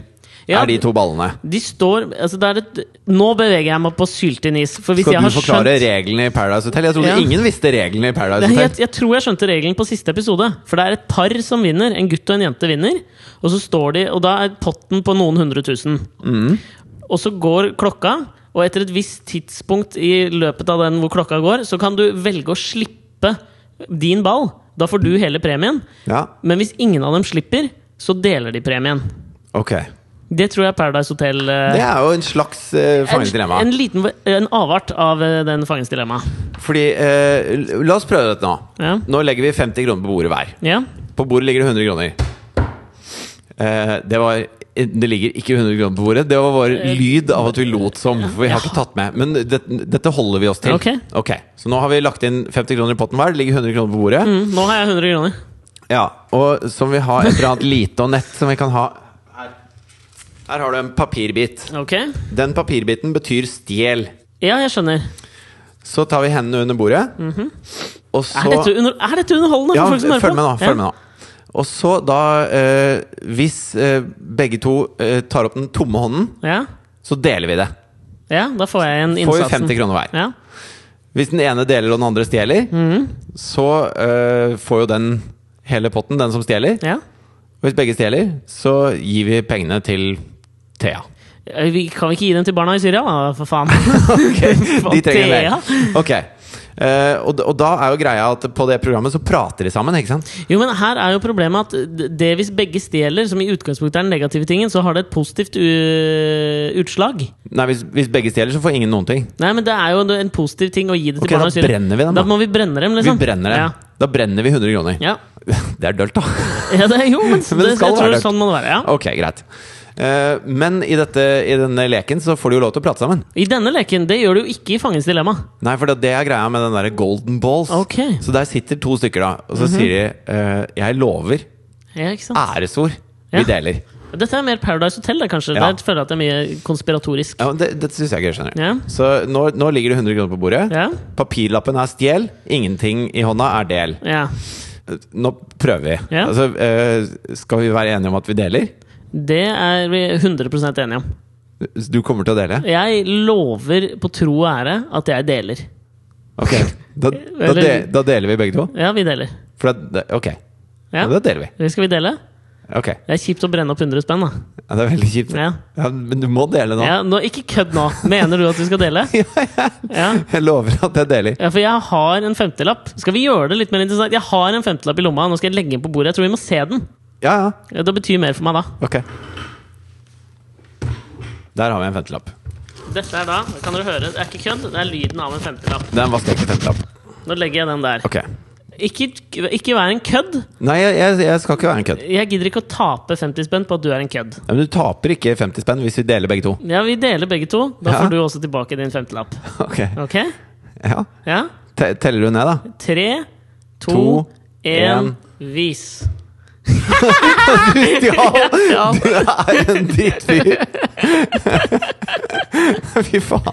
Ja.
Er de to ballene.
De står, altså det er et, Nå beveger jeg meg på syltynn is. For hvis
Skal
jeg
du
har
forklare
skjønt
reglene i Paradise Hotel? Jeg trodde
Ja.
ingen visste reglene i Paradise
Nei,
Hotel.
jeg, jeg tror jeg skjønte regelen på siste episode. For det er et par som vinner. En gutt og en jente vinner. Og så står de, og da er potten på noen hundre tusen.
Mm.
Og så går klokka, og etter et visst tidspunkt i løpet av den hvor klokka går, så kan du velge å slippe din ball. Da får du hele premien.
Ja,
Men hvis ingen av dem slipper, så deler de premien.
ok
Det tror jeg Paradise Hotel eh,
Det er jo en slags uh, fangens dilemma.
En, en liten en avart av eh, den fangens dilemma.
Fordi, eh, l- La oss prøve dette nå.
Ja.
Nå legger vi 50 kroner på bordet hver.
Ja?
På bordet ligger det 100 kroner. Eh, det var det ligger ikke 100 kroner på bordet. Det var
Eh,
bare lyd av at vi lot som. For vi har ikke tatt med Men det, dette holder vi oss til.
Ok.
Ok, Så nå har vi lagt inn 50 kroner i potten hver. Det ligger 100 kroner på bordet.
Mm, nå har jeg 100 kroner.
Ja, Og som vi har et eller annet lite og nett som vi kan ha Her, Her har du en papirbit.
Ok?
Den papirbiten betyr stjel.
Ja, jeg skjønner.
Så tar vi hendene under bordet. Og så
Mhm. Er dette, under, er dette underholdende
Ja,
for folk som hører på?
følg med nå. Følg med nå. Og så da eh, Hvis eh, begge to eh, tar opp den tomme hånden,
Ja.
så deler vi det.
Ja. ja, da får jeg en
Får vi
innsatsen.
50 kroner hver.
Ja.
Hvis den ene deler og den andre stjeler,
Mhm.
så eh, får jo den hele potten, den som stjeler.
ja.
Og hvis begge stjeler, så gir vi pengene til Thea.
Eh, Vi, kan vi ikke gi dem til barna i Syria, da? For faen.
De trenger
Thea?
mer. Ok. Eh, og, og da er jo greia at på det programmet så prater de sammen, ikke sant?
Jo, men her er jo problemet at d- det hvis begge stjeler, som i utgangspunktet er den negative tingen, så har det et positivt u utslag.
Nei, hvis, hvis begge stjeler, så får ingen noen ting.
Nei, men det er jo en positiv ting å gi det til
Ok,
barna i
da
Syria.
brenner vi dem,
Da
da.
må vi brenne dem, liksom.
Vi brenner dem. Da brenner vi 100 kroner.
Ja.
Det er dølt, da.
ja. ja det er, jo, men,
Men
det,
det skal
jeg tror
være
det er sånn må det være. Ja.
Ok, greit. Eh, men i, dette, i denne leken så får de jo lov til å prate sammen.
I denne leken, det gjør du jo ikke i Fangens dilemma.
Nei, for det, det er greia med den der golden balls.
Ok. Mhm.
Så der sitter to stykker, da. Og så sier de eh, 'jeg lover'.
Ja, ikke sant?
Æresord.
Ja.
Vi deler.
Dette er mer Paradise Hotel, da, kanskje.
Ja.
Der føler jeg at det er mye konspiratorisk.
Ja, men det det syns jeg ikke jeg skjønner.
Ja.
Så nå, nå ligger det 100 kroner på bordet.
Ja.
Papirlappen er stjel. Ingenting i hånda er del.
Ja.
Nå prøver vi.
Ja.
Altså, eh, skal vi være enige om at vi deler?
Det er vi 100 enige om.
Du kommer til å dele?
Jeg lover på tro og ære at jeg deler.
Ok. Da, da, de,
Eller-
da deler vi begge to?
Ja, vi deler.
For da, ok.
Ja.
Ja, da deler vi.
Skal vi dele?
Ok.
Det er kjipt å brenne opp 100 spenn, da.
Ja, det er veldig kjipt.
Ja.
Ja, men du må dele nå.
Ja, nå, ikke kødd nå! Mener du at vi skal dele? Ja.
Jeg lover at jeg deler.
ja, for jeg har en femtilapp. Skal vi gjøre det litt mer interessant? Jeg har en femtilapp i lomma, nå skal jeg legge den på bordet. Jeg tror vi må se den.
Ja, ja.
Ja, det betyr mer for meg da.
Ok. Der har vi en femtelapp.
Dette er da, kan dere høre, det er ikke kødd, det er lyden av en femtilapp.
Det er en vaskeekte femtelapp.
Nå legger jeg den der.
Ok.
Ikke, ikke vær en kødd.
Nei, jeg, jeg, jeg skal ikke være en kødd.
Jeg gidder ikke å tape 50 spenn på at du er en kødd.
Ja, Men du taper ikke 50 spenn hvis vi deler begge to.
Ja, vi deler begge to. Da
Ja.
får du også tilbake din femtelapp.
Ok.
Ok?
Ja.
Ja.
Te- Teller du ned, da?
Tre, to,
To,
én,
en.
vis.
Ja!
Ja.
Du er en drittfyr! Fy faen.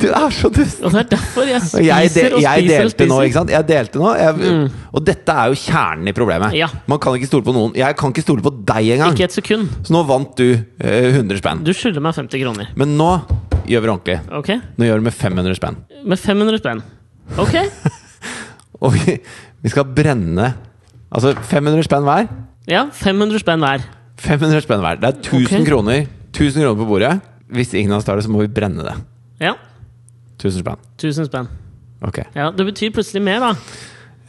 Du er så dust.
Og det er derfor jeg spiser
Og jeg, de,
og spiser
jeg
og
delte
spiser. Mm.
nå, ikke sant? Jeg delte nå. Jeg, Og dette er jo kjernen i problemet.
Ja.
Man kan ikke stole på noen. Jeg kan ikke stole på deg engang.
Ikke et sekund.
Så nå vant du eh, 100 spenn.
Du skylder meg 50 kroner.
Men nå gjør vi det ordentlig.
Ok?
Nå gjør vi det med 500 spenn.
Med 500 spenn. Ok?
Og vi, vi skal brenne Altså 500 spenn hver.
Ja, 500 spenn hver.
500 spenn hver. Det er 1000
Ok.
kroner. 1000 kroner på bordet. Hvis ingen av oss tar det, så må vi brenne det.
Ja.
1000 spenn.
1000 spenn.
Ok.
Ja, Det betyr plutselig mer, da.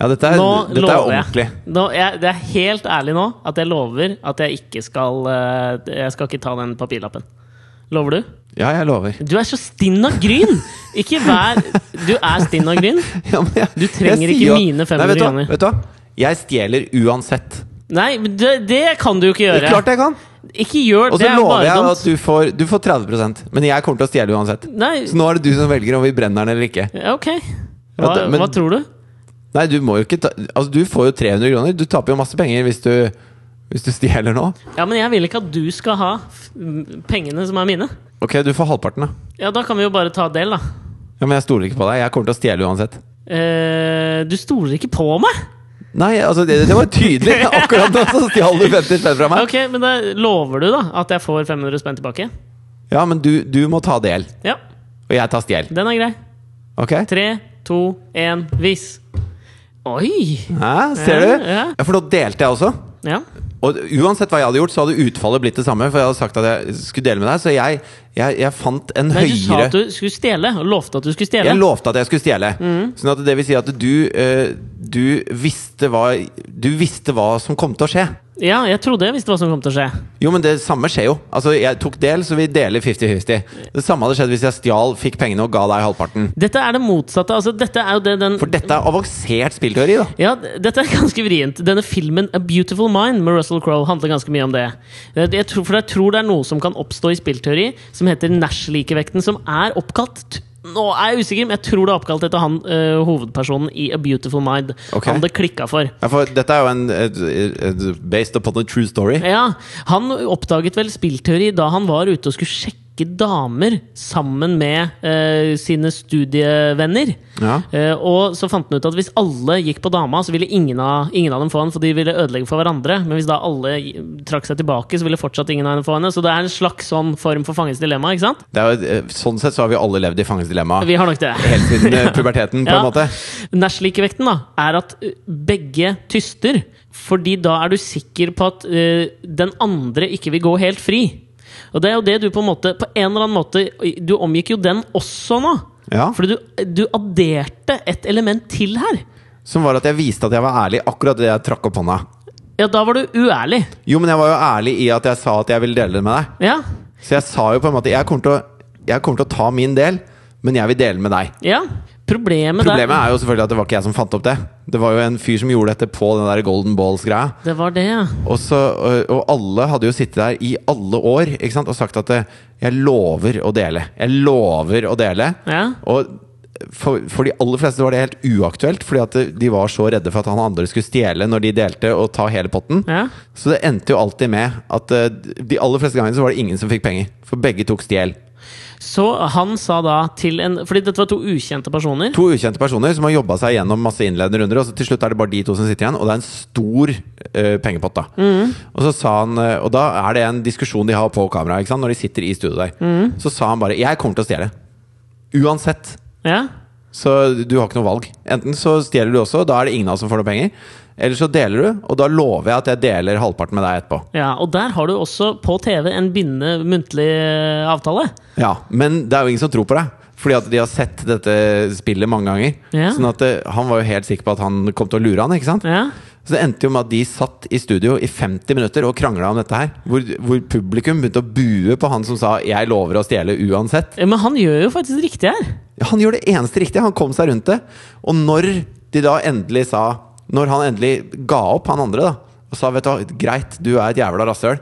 Ja, dette er,
Nå
dette er
lover
ordentlig.
jeg. Nå, jeg. Det er helt ærlig nå at jeg lover at jeg ikke skal eh, Jeg skal ikke ta den papirlappen. Lover du?
Ja, jeg lover.
Du er så stinn av gryn! Ikke vær Du er stinn av gryn.
Ja, men jeg,
Du trenger
jeg
ikke
sier jo-
mine 500
vet du hva?
kroner.
Vet du hva? Jeg stjeler uansett.
Nei, men det, det kan du jo ikke
Det er klart
gjøre.
jeg kan!
Ikke gjør
Og
det.
så
Det er
lover
bare
jeg at
dumt.
du får, du får 30 men jeg kommer til å stjele uansett.
Nei,
Så nå er det du som velger om vi brenner den eller ikke.
ja, ok. Hva,
Ja, det- men-
hva tror du?
Nei, du må jo ikke ta Altså, du får jo 300 kroner. Du taper jo masse penger hvis du, hvis du stjeler nå.
Ja, men jeg vil ikke at du skal ha f- m- pengene som er mine.
Ok, du får halvparten, da.
Ja, da kan vi jo bare ta del, da.
Ja, Men jeg stoler ikke på deg. Jeg kommer til å stjele uansett.
Eh, du stoler ikke på meg?
Nei, altså, det, det var tydelig. Akkurat nå så stjal du 50 spenn fra meg.
Ok, men da lover du da at jeg får 500 spenn tilbake?
Ja, men du, du må ta del.
Ja,
Og jeg tar stjel.
den er grei.
Ok?
Tre, to, én, vis. Oi!
Hæ, ser du?
Ja, ja.
Ja, For da delte jeg også.
Ja.
Og uansett hva jeg hadde gjort, så hadde utfallet blitt det samme. For jeg hadde sagt at jeg skulle dele med deg, så jeg, jeg, jeg fant en
Nei, du sa
høyere
at du skulle stjele, og lovte at du skulle stjele.
Jeg lovte at jeg skulle stjele.
Mm.
Sånn at det vil si at du, eh, du, visste hva, du visste hva som kom til å skje.
ja, jeg trodde jeg visste hva som kom til å skje.
Jo, men det samme skjer jo. Altså, jeg tok del, så vi deler 50-50. Det samme hadde skjedd hvis jeg stjal, fikk pengene og ga deg halvparten.
Dette er det motsatte. altså dette er jo det den...
For dette er avansert spillteori, da.
Ja, d- dette er ganske vrient. Denne filmen A Beautiful Mind med Russell Crowe handler ganske mye om det. Eh, Jeg tror, for jeg tror det er noe som kan oppstå i spillteori, som heter Nash-likevekten, som er oppkalt t- Nå er jeg usikker, men jeg tror det er oppkalt etter han eh, hovedpersonen i A Beautiful Mind.
Ok.
Han det klikka for.
Ja, for dette er jo en et, et, based upon a true story.
Ja, Han oppdaget vel spillteori da han var ute og skulle sjekke flinke damer sammen med eh, sine studievenner.
Ja.
Eh, og så fant han ut at hvis alle gikk på dama, så ville ingen av, ingen av dem få han, for de ville ødelegge for hverandre. Men hvis da alle gi- trakk seg tilbake, så ville fortsatt ingen av dem få henne. Så det er en slags sånn form for fangens dilemma, ikke sant?
Det er jo, eh, sånn sett så har vi alle levd i fangens dilemma
Vi har nok det.
helt siden eh, puberteten, på
Ja.
en måte.
Nash-likevekten da, er at ø, begge tyster, fordi da er du sikker på at ø, den andre ikke vil gå helt fri. Og det er jo det du på en måte, på en eller annen måte, du omgikk jo den også nå.
Ja.
Fordi du, du adderte et element til her.
Som var at jeg viste at jeg var ærlig akkurat det jeg trakk opp hånda.
Ja, da var du uærlig.
Jo, men jeg var jo ærlig i at jeg sa at jeg ville dele det med deg.
Ja,
Så jeg sa jo på en måte Jeg kommer til å, jeg kommer til å ta min del, men jeg vil dele den med deg.
ja. Problemet,
Problemet er jo selvfølgelig at det var ikke jeg som fant opp det. Det var jo en fyr som gjorde dette på den der Golden Balls-greia.
der Det var det, ja.
Og, så, og- og alle hadde jo sittet der i alle år ikke sant? og sagt at eh, 'jeg lover å dele'. Jeg lover å dele.
Ja.
Og for, for de aller fleste var det helt uaktuelt, fordi at øh, de var så redde for at han andre skulle stjele når de delte, og ta hele potten.
Ja.
Så det endte jo alltid med at eh, de aller fleste gangene så var det ingen som fikk penger. For begge tok stjel.
Så han sa da til en Fordi dette var to ukjente personer.
To ukjente personer som har jobba seg gjennom masse innledende runder, og så til slutt er det bare de to som sitter igjen, og det er en stor eh, pengepott, da. Og så sa han eh, Og da er det en diskusjon de har på kamera, ikke sant, når de sitter i studio der. Så sa han bare 'Jeg kommer til å stjele'. Uansett.
Ja.
Så du har ikke noe valg. Enten så stjeler du også, da er det ingen av oss som får noe penger. Eller så deler du, og da lover jeg at jeg deler halvparten med deg etterpå.
ja. Og der har du også på TV en bindende muntlig eh, avtale.
Ja, Men det er jo ingen som tror på deg. Fordi at de har sett dette spillet mange ganger.
Ja.
Sånn at eh, han var jo helt sikker på at han kom til å lure han. ikke sant?
Ja.
Så det endte jo med at de satt i studio i 50 minutter og krangla om dette her. Hvor, hvor publikum begynte å bue på han som sa 'jeg lover å stjele uansett'.
Men han gjør jo faktisk riktig her.
Ja, Han gjorde det eneste riktige, han kom seg rundt det. Og når de da endelig sa Når han endelig ga opp han andre, da, og sa 'vet du hva, greit, du er et jævla rasshøl',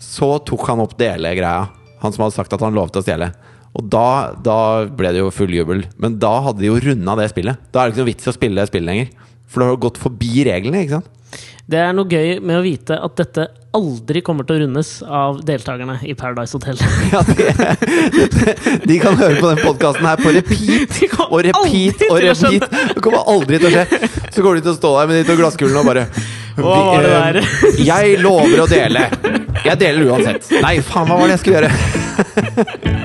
så tok han opp delegreia. Han som hadde sagt at han lovet å stjele. Og da, da ble det jo full jubel. Men da hadde de jo runda det spillet. Da er det ikke noe vits i å spille det spillet lenger. For da har du gått forbi reglene, ikke sant?
Det er noe gøy med å vite at dette aldri kommer til å rundes av deltakerne i Paradise Hotel.
Ja, de, de kan høre på den podkasten her på repeat
De kommer
og repeat
aldri
og
til å skjønne.
repeat. Det kommer aldri til å skje. Så går de til å stå der med de to glasskulene og bare
Hva var det
eh,
der?
Jeg lover å dele. Jeg deler uansett. Nei, faen, hva var det jeg skulle gjøre?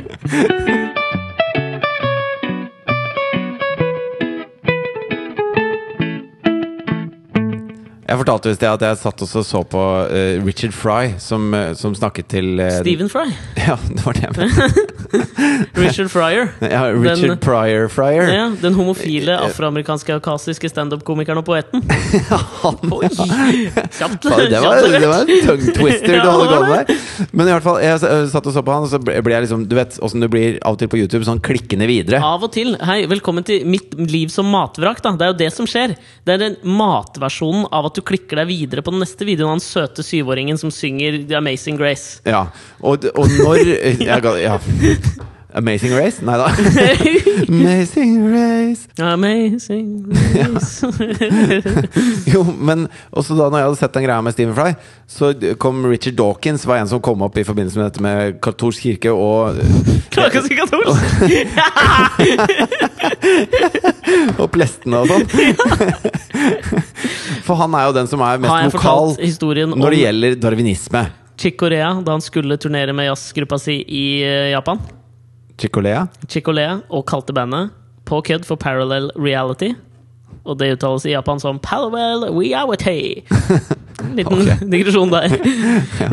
Jeg fortalte visst det at jeg satt og så- så på eh, Richard Fry, som, eh, som snakket til eh,
Stephen Fry.
Ja, det var det jeg mente.
Richard Fryer.
Ja, Richard
Den-
Pryor Fryer.
Ja, den homofile afroamerikanske kaukasiske standup-komikeren og poeten.
Han,
Oi! Kjapt.
Fader, det, var,
kjapt levert.
det var en tongue twister
Ja,
du hadde
det var
gående der. Men i hvert fall, jeg eh, satt og så på han, og så ble ble jeg liksom Du vet åssen du blir av og til på YouTube, sånn klikkende videre.
Av og til. Hei, velkommen til Mitt liv som matvrak. da Det er jo det som skjer. Det er den matversjonen av at du klikker deg videre på den neste videoen av den søte syvåringen som synger The Amazing Grace.
Ja. Og, d- og når jeg, ga- ja. Amazing Race? Nei da. Amazing Race
Amazing Grace.
Jo, men også da når jeg hadde sett den greia med Stephen Fry, så kom Richard Dawkins, var en som kom opp i forbindelse med dette med katolsk kirke og
Klarer ikke å si katolsk!
Og plestene og sånn. For han er jo den som er
Har
mest
jeg
lokal
fortalt historien om
når det gjelder darwinisme.
Chick-Corea da han skulle turnere med jazzgruppa si i eh, Japan?
Chicolea?
Chick-Corea og kalte bandet på kødd for Parallel Reality. Og det uttales i Japan som Parallel Reality. Liten
Ok.
digresjon der.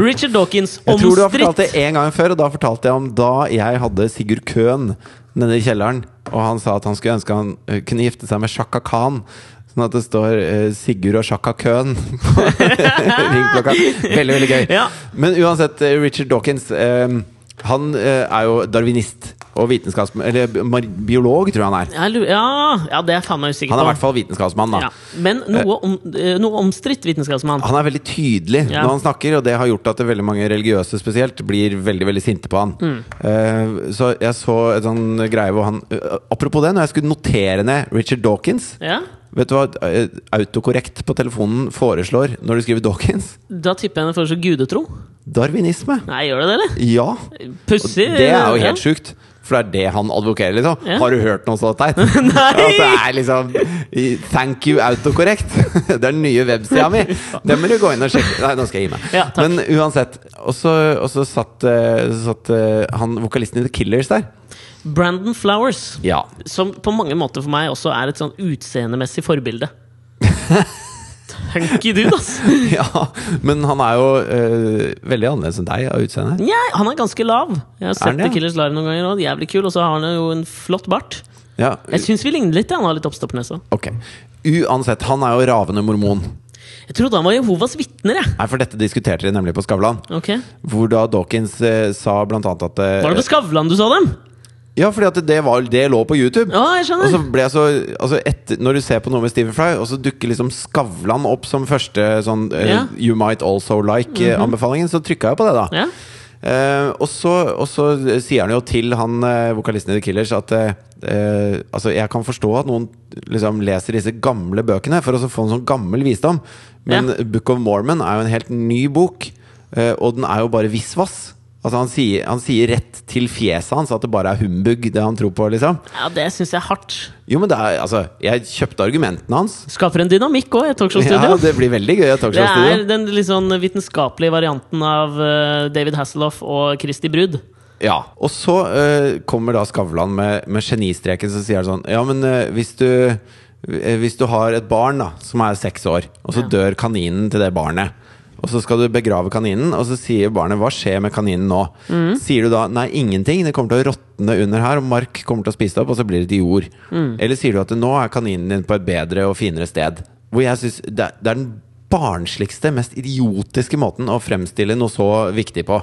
Richard Dawkins,
Jeg tror du har fortalt
omstridt
det en gang før, og da fortalte jeg om da jeg hadde Sigurd Køhn nede i kjelleren, og han sa at han skulle ønske han eh, kunne gifte seg med Shaka Khan. Sånn at det står eh, Sigurd og Shaka Køhn på ringklokka. Veldig, veldig gøy.
Ja.
Men uansett, eh, Richard Dawkins eh, Han eh, er jo darwinist og vitenskaps... Eller bi- biolog, tror jeg han er.
Jeg lurer- ja, ja, det er jeg faen meg usikker
Han er
på.
i hvert fall vitenskapsmann, da.
ja. Men noe, om, eh, noe omstridt vitenskapsmann.
Han er veldig tydelig
Ja.
når han snakker, og det har gjort at det veldig mange religiøse spesielt blir veldig veldig sinte på han.
Mm.
Eh, så jeg så et sånn greie hvor han eh, Apropos det, når jeg skulle notere ned Richard Dawkins
Ja?
Vet du hva eh, autokorrekt på telefonen foreslår når du skriver Dawkins?
Da tipper jeg henne for så gudetro.
Darwinisme.
Nei, gjør det det, eller?
Ja. Og
Pussig.
det er jo helt
Eh, ja.
sjukt. For det er det han advokerer, liksom.
Ja.
Har du hørt noe så teit? At det er liksom i- Thank you autocorrect. Det er den nye websida mi. Den må du gå inn og sjekke. Nei, nå skal jeg gi meg.
Ja, takk.
Men uansett. Og så og så satt, eh, så satt eh, han vokalisten i The Killers der.
Brandon Flowers.
Ja.
Som på mange måter for meg også er et sånn utseendemessig forbilde. Tanky dude, ass!
ja. Men han er jo eh, veldig annerledes enn deg av utseende.
Nei, han er ganske lav. Jeg har
han
sett
det?
The Killers live noen ganger, og jævlig kul. Og så har han jo en flott bart.
Ja.
Jeg syns vi ligner litt. ja. Han har litt oppstoppernese.
Ok. Uansett, han er jo ravende mormon.
Jeg trodde han var Jehovas vitner, jeg.
Nei, for dette diskuterte de nemlig på Skavlan.
Ok
Hvor da Dawkins eh, sa blant annet at eh,
Var det på Skavlan du så dem?
Ja, fordi at det, var, det lå på YouTube.
Ja, jeg
Og så
skjønner.
ble jeg så altså etter, Når du ser på noe med Stephen Fry, og så dukker liksom Skavlan opp som første sånn eh,
Ja. Mhm.
You might also like-anbefalingen, så trykka jeg på det, da.
Ja.
Eh, og, så, og så sier han jo til han eh, vokalisten i The Killers at eh, eh, Altså, jeg kan forstå at noen liksom leser disse gamle bøkene for å så få en sånn gammel visdom, men
Ja.
Book of Mormon er jo en helt ny bok, eh, og den er jo bare visvas. Altså, han sier, han sier rett til fjeset hans at det bare er humbug, det han tror på, liksom.
ja, det syns jeg er hardt.
Jo, men det er Altså, jeg kjøpte argumentene hans.
Skaper en dynamikk òg i
Ja,
et talkshow-studio.
det blir veldig gøy i
det er
talkshow-studio.
den litt sånn vitenskapelige varianten av eh, David Hasselhoff og Christy Brudd.
Ja. Og så eh, kommer da Skavlan med, med genistreken som sier sånn Ja, men eh, hvis du eh, Hvis du har et barn da som er seks år, og så dør kaninen til det barnet. Og så skal du begrave kaninen, og så sier barnet 'hva skjer med kaninen nå'? Sier du da 'nei, ingenting, det kommer til å råtne under her, og mark kommer til å spise det opp', og så blir det til jord? Eller sier du at 'nå er kaninen din på et bedre og finere sted'? Hvor jeg synes det, er- det er den barnsligste, mest idiotiske måten å fremstille noe så viktig på.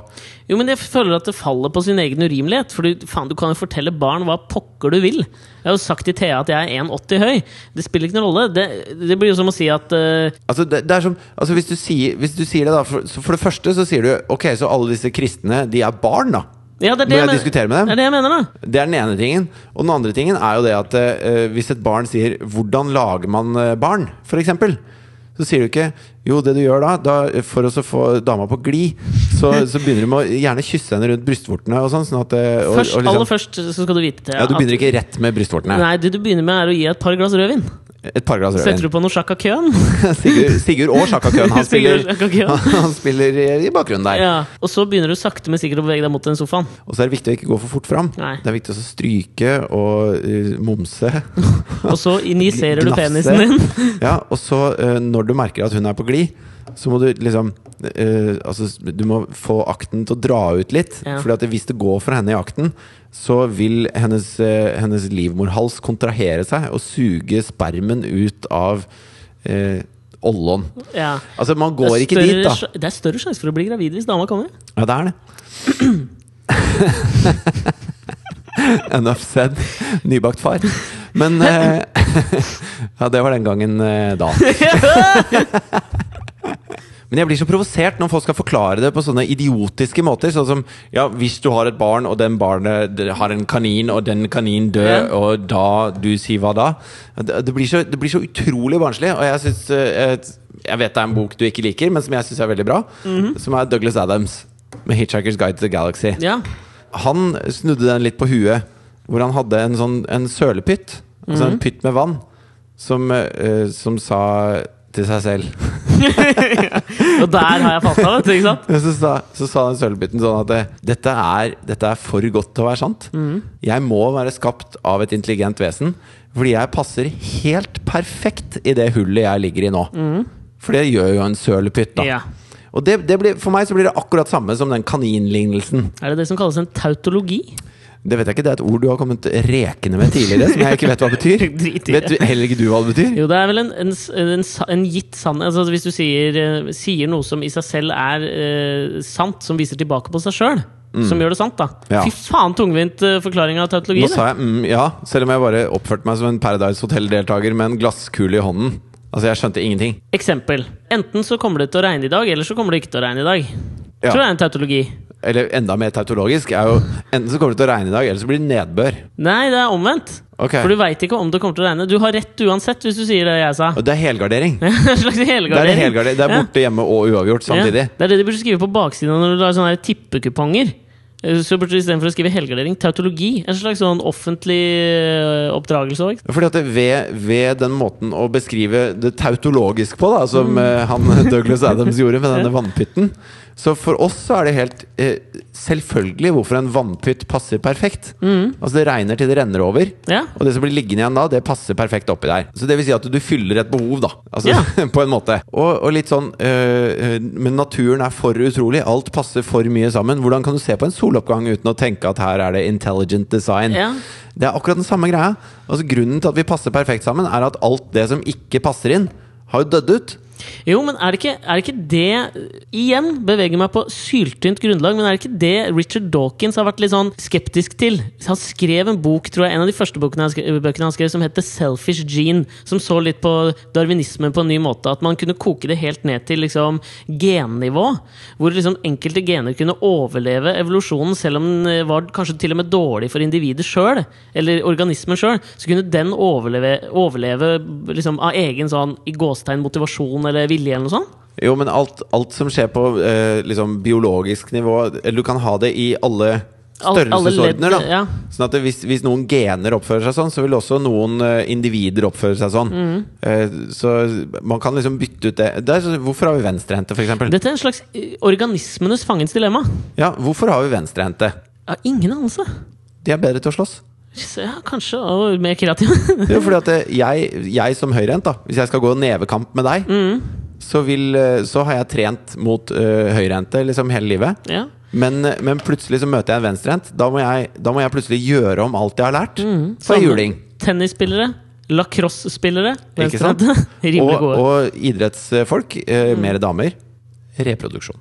Jo, men jeg føler at det faller på sin egen urimelighet. For du, faen, du kan jo fortelle barn hva pokker du vil. Jeg har jo sagt til Thea at jeg er 1,80 høy. Det spiller ikke noen rolle. Det, det blir jo som å si at eh,
Altså, det, det er som, altså hvis, du sier, hvis du sier det, da for, så for det første så sier du Ok, så alle disse kristne, de er barn, da.
ja, det er
Når
det
jeg
men-
diskuterer med dem.
Det er det jeg mener, da.
Det er den ene tingen. Og den andre tingen er jo det at eh, hvis et barn sier 'Hvordan lager man eh, barn?' for eksempel, så sier du ikke 'Jo, det du gjør da, da for å så få dama på glid', så, så begynner du med å gjerne kysse henne rundt brystvortene og sånn. sånn at eh, og,
Først,
og liksom,
Aller først så skal du vite Thea,
Ja, Du begynner
at,
ikke rett med brystvortene.
Nei, det du begynner med, er å gi et par glass rødvin.
Et par glass
Setter
rødvin.
du på noe sjakk av køen?
Sigurd, Sigurd og Sjaka Køhn, han spiller,
Sigurd og Sjaka Køhn.
han, han spiller i, i bakgrunnen der.
Ja. Og så begynner du sakte, men sikkert å bevege deg mot den sofaen.
Og så er det viktig å ikke gå for fort fram.
Nei.
Det er viktig å stryke og eh, momse.
Og så injiserer du
Gnafse.
penisen din.
ja, og så, eh, når du merker at hun er på glid, så må du liksom eh, Altså, du må få akten til å dra ut litt.
Ja.
Fordi at hvis det går for henne i akten, så vil hennes, eh, hennes livmorhals kontrahere seg og suge spermen ut av eh, ollån.
Ja.
Altså, man
Det
går
er
ikke dit,
større
da.
sj- Det er større sjanse for å bli gravid hvis dama kommer.
Ja, det er det. Enough said. Nybakt far. Men eh, Ja, det var den gangen eh, da. Men jeg blir så provosert når folk skal forklare det på sånne idiotiske måter. Sånn som ja, hvis du har et barn, og den barnet d- har en kanin, og den kaninen dør,
Ja.
og da du sier hva da? Det, det, blir, så, det blir så utrolig barnslig. Og jeg syns Jeg vet det er en bok du ikke liker, men som jeg syns er veldig bra. Som er Douglas Adams med 'Hitchhiker's Guide to the Galaxy'.
Mhm. Ja.
Han snudde den litt på huet, hvor han hadde en sånn en sølepytt. Altså en pytt med vann, som, eh, som sa til seg selv
Og der har jeg falt av, vet du. Ikke sant?
Men så sa, så sa den sølvbiten sånn at eh, dette er, dette er for godt til å være sant. Jeg må være skapt av et intelligent vesen, fordi jeg passer helt perfekt i det hullet jeg ligger i nå. For det gjør jo en sølepytt, da.
Ja.
Og det, det blir, for meg så blir det akkurat samme som den kaninlignelsen.
Er det det som kalles en tautologi?
Det vet jeg ikke, det er et ord du har kommet rekende med tidligere, som jeg ikke vet hva betyr.
Drit i det.
Vet du, heller ikke du hva det betyr?
Jo, det er vel en, en, s- en, sa- en gitt sannhet altså, Hvis du sier, eh, sier noe som i seg selv er eh, sant, som viser tilbake på seg sjøl, som gjør det sant, da.
Mm. Ja.
Fy faen, tungvint eh, forklaring av tautologi.
Nå
det.
sa jeg mm, ja, selv om jeg bare oppførte meg som en Paradise Hotel-deltaker med en glasskule i hånden. Altså, jeg skjønte ingenting.
Eksempel. Enten så kommer det til å regne i dag, eller så kommer det ikke til å regne i dag.
Ja.
Tror jeg er en tautologi.
Eller enda mer tautologisk er jo Enten så kommer det til å regne i dag, eller så blir det nedbør.
Nei, det er omvendt.
Ok.
For du veit ikke om det kommer til å regne. Du har rett uansett hvis du sier det jeg sa.
Og det er helgardering.
En slags
Det er,
helgardering.
helgardering. Det er
Ja.
borte, hjemme og uavgjort samtidig.
Ja, det er det de burde skrive på baksiden når du lager sånne her tippekuponger. Eh, Så burde du istedenfor å skrive helgardering, tautologi. En slags sånn offentlig eh, oppdragelse òg.
Fordi at det ved, ved den måten å beskrive det tautologisk på, da, som eh, han Douglas Adams gjorde med denne vannpytten Så for oss så er det helt eh, selvfølgelig hvorfor en vannpytt passer perfekt. Altså Det regner til det renner over,
Ja.
og det som blir liggende igjen da, det passer perfekt oppi der. Så det vil si at du fyller et behov, da. Altså,
Ja.
på en måte. Og, og litt sånn eh, eh, Men naturen er for utrolig. Alt passer for mye sammen. Hvordan kan du se på en soloppgang uten å tenke at her er det intelligent design?
Ja.
Det er akkurat den samme greia. Altså Grunnen til at vi passer perfekt sammen, er at alt det som ikke passer inn, har jo dødd ut.
Jo, men er det, ikke, er det ikke det Igjen beveger meg på syltynt grunnlag, men er det ikke det Richard Dawkins har vært litt sånn skeptisk til? Han skrev en bok, tror jeg, en av de første bokene han skrev, bøkene han skrev, som het The Selfish Gene, som så litt på darwinismen på en ny måte. At man kunne koke det helt ned til liksom gennivå. Hvor liksom enkelte gener kunne overleve evolusjonen, selv om den eh, var kanskje til og med dårlig for individet sjøl, eller organismen sjøl. Så kunne den overleve, overleve liksom, av egen sånn i gåstegn motivasjon eller vilje eller noe sånt.
Jo, men alt, alt som skjer på eh, liksom biologisk nivå Eller du kan ha det i alle
Al- alle
størrelsesordener.
ledd,
da
ja.
Sånn at det, hvis, hvis noen gener oppfører seg sånn, så vil også noen eh, individer oppføre seg sånn.
Mm.
Eh, så man kan liksom bytte ut det. det er, sånn- hvorfor har vi venstrehendte, f.eks.?
Dette er en slags eh, organismenes fangens dilemma.
Ja, hvorfor har vi venstrehendte?
Jeg har ingen anelse.
De er bedre til å slåss.
Så Ja, kanskje. Og mer kreativ.
Det er jo fordi at eh, jeg, jeg som høyrehendt, da, hvis jeg skal gå nevekamp med deg,
Mm.
så, vil, eh, så har jeg trent mot eh, høyrehendte liksom hele livet.
ja.
Men, men plutselig så møter jeg en venstrehendt. Da, må jeg- da må jeg plutselig gjøre om alt jeg har lært.
Mm,
Så er jeg
Samme.
juling.
Sånn, Tennisspillere. Lacrosse-spillere.
Ikke sant?
venstrehendte, Rimelig
Og,
gode. Mm.
og idrettsfolk, eh, mer damer. Reproduksjon.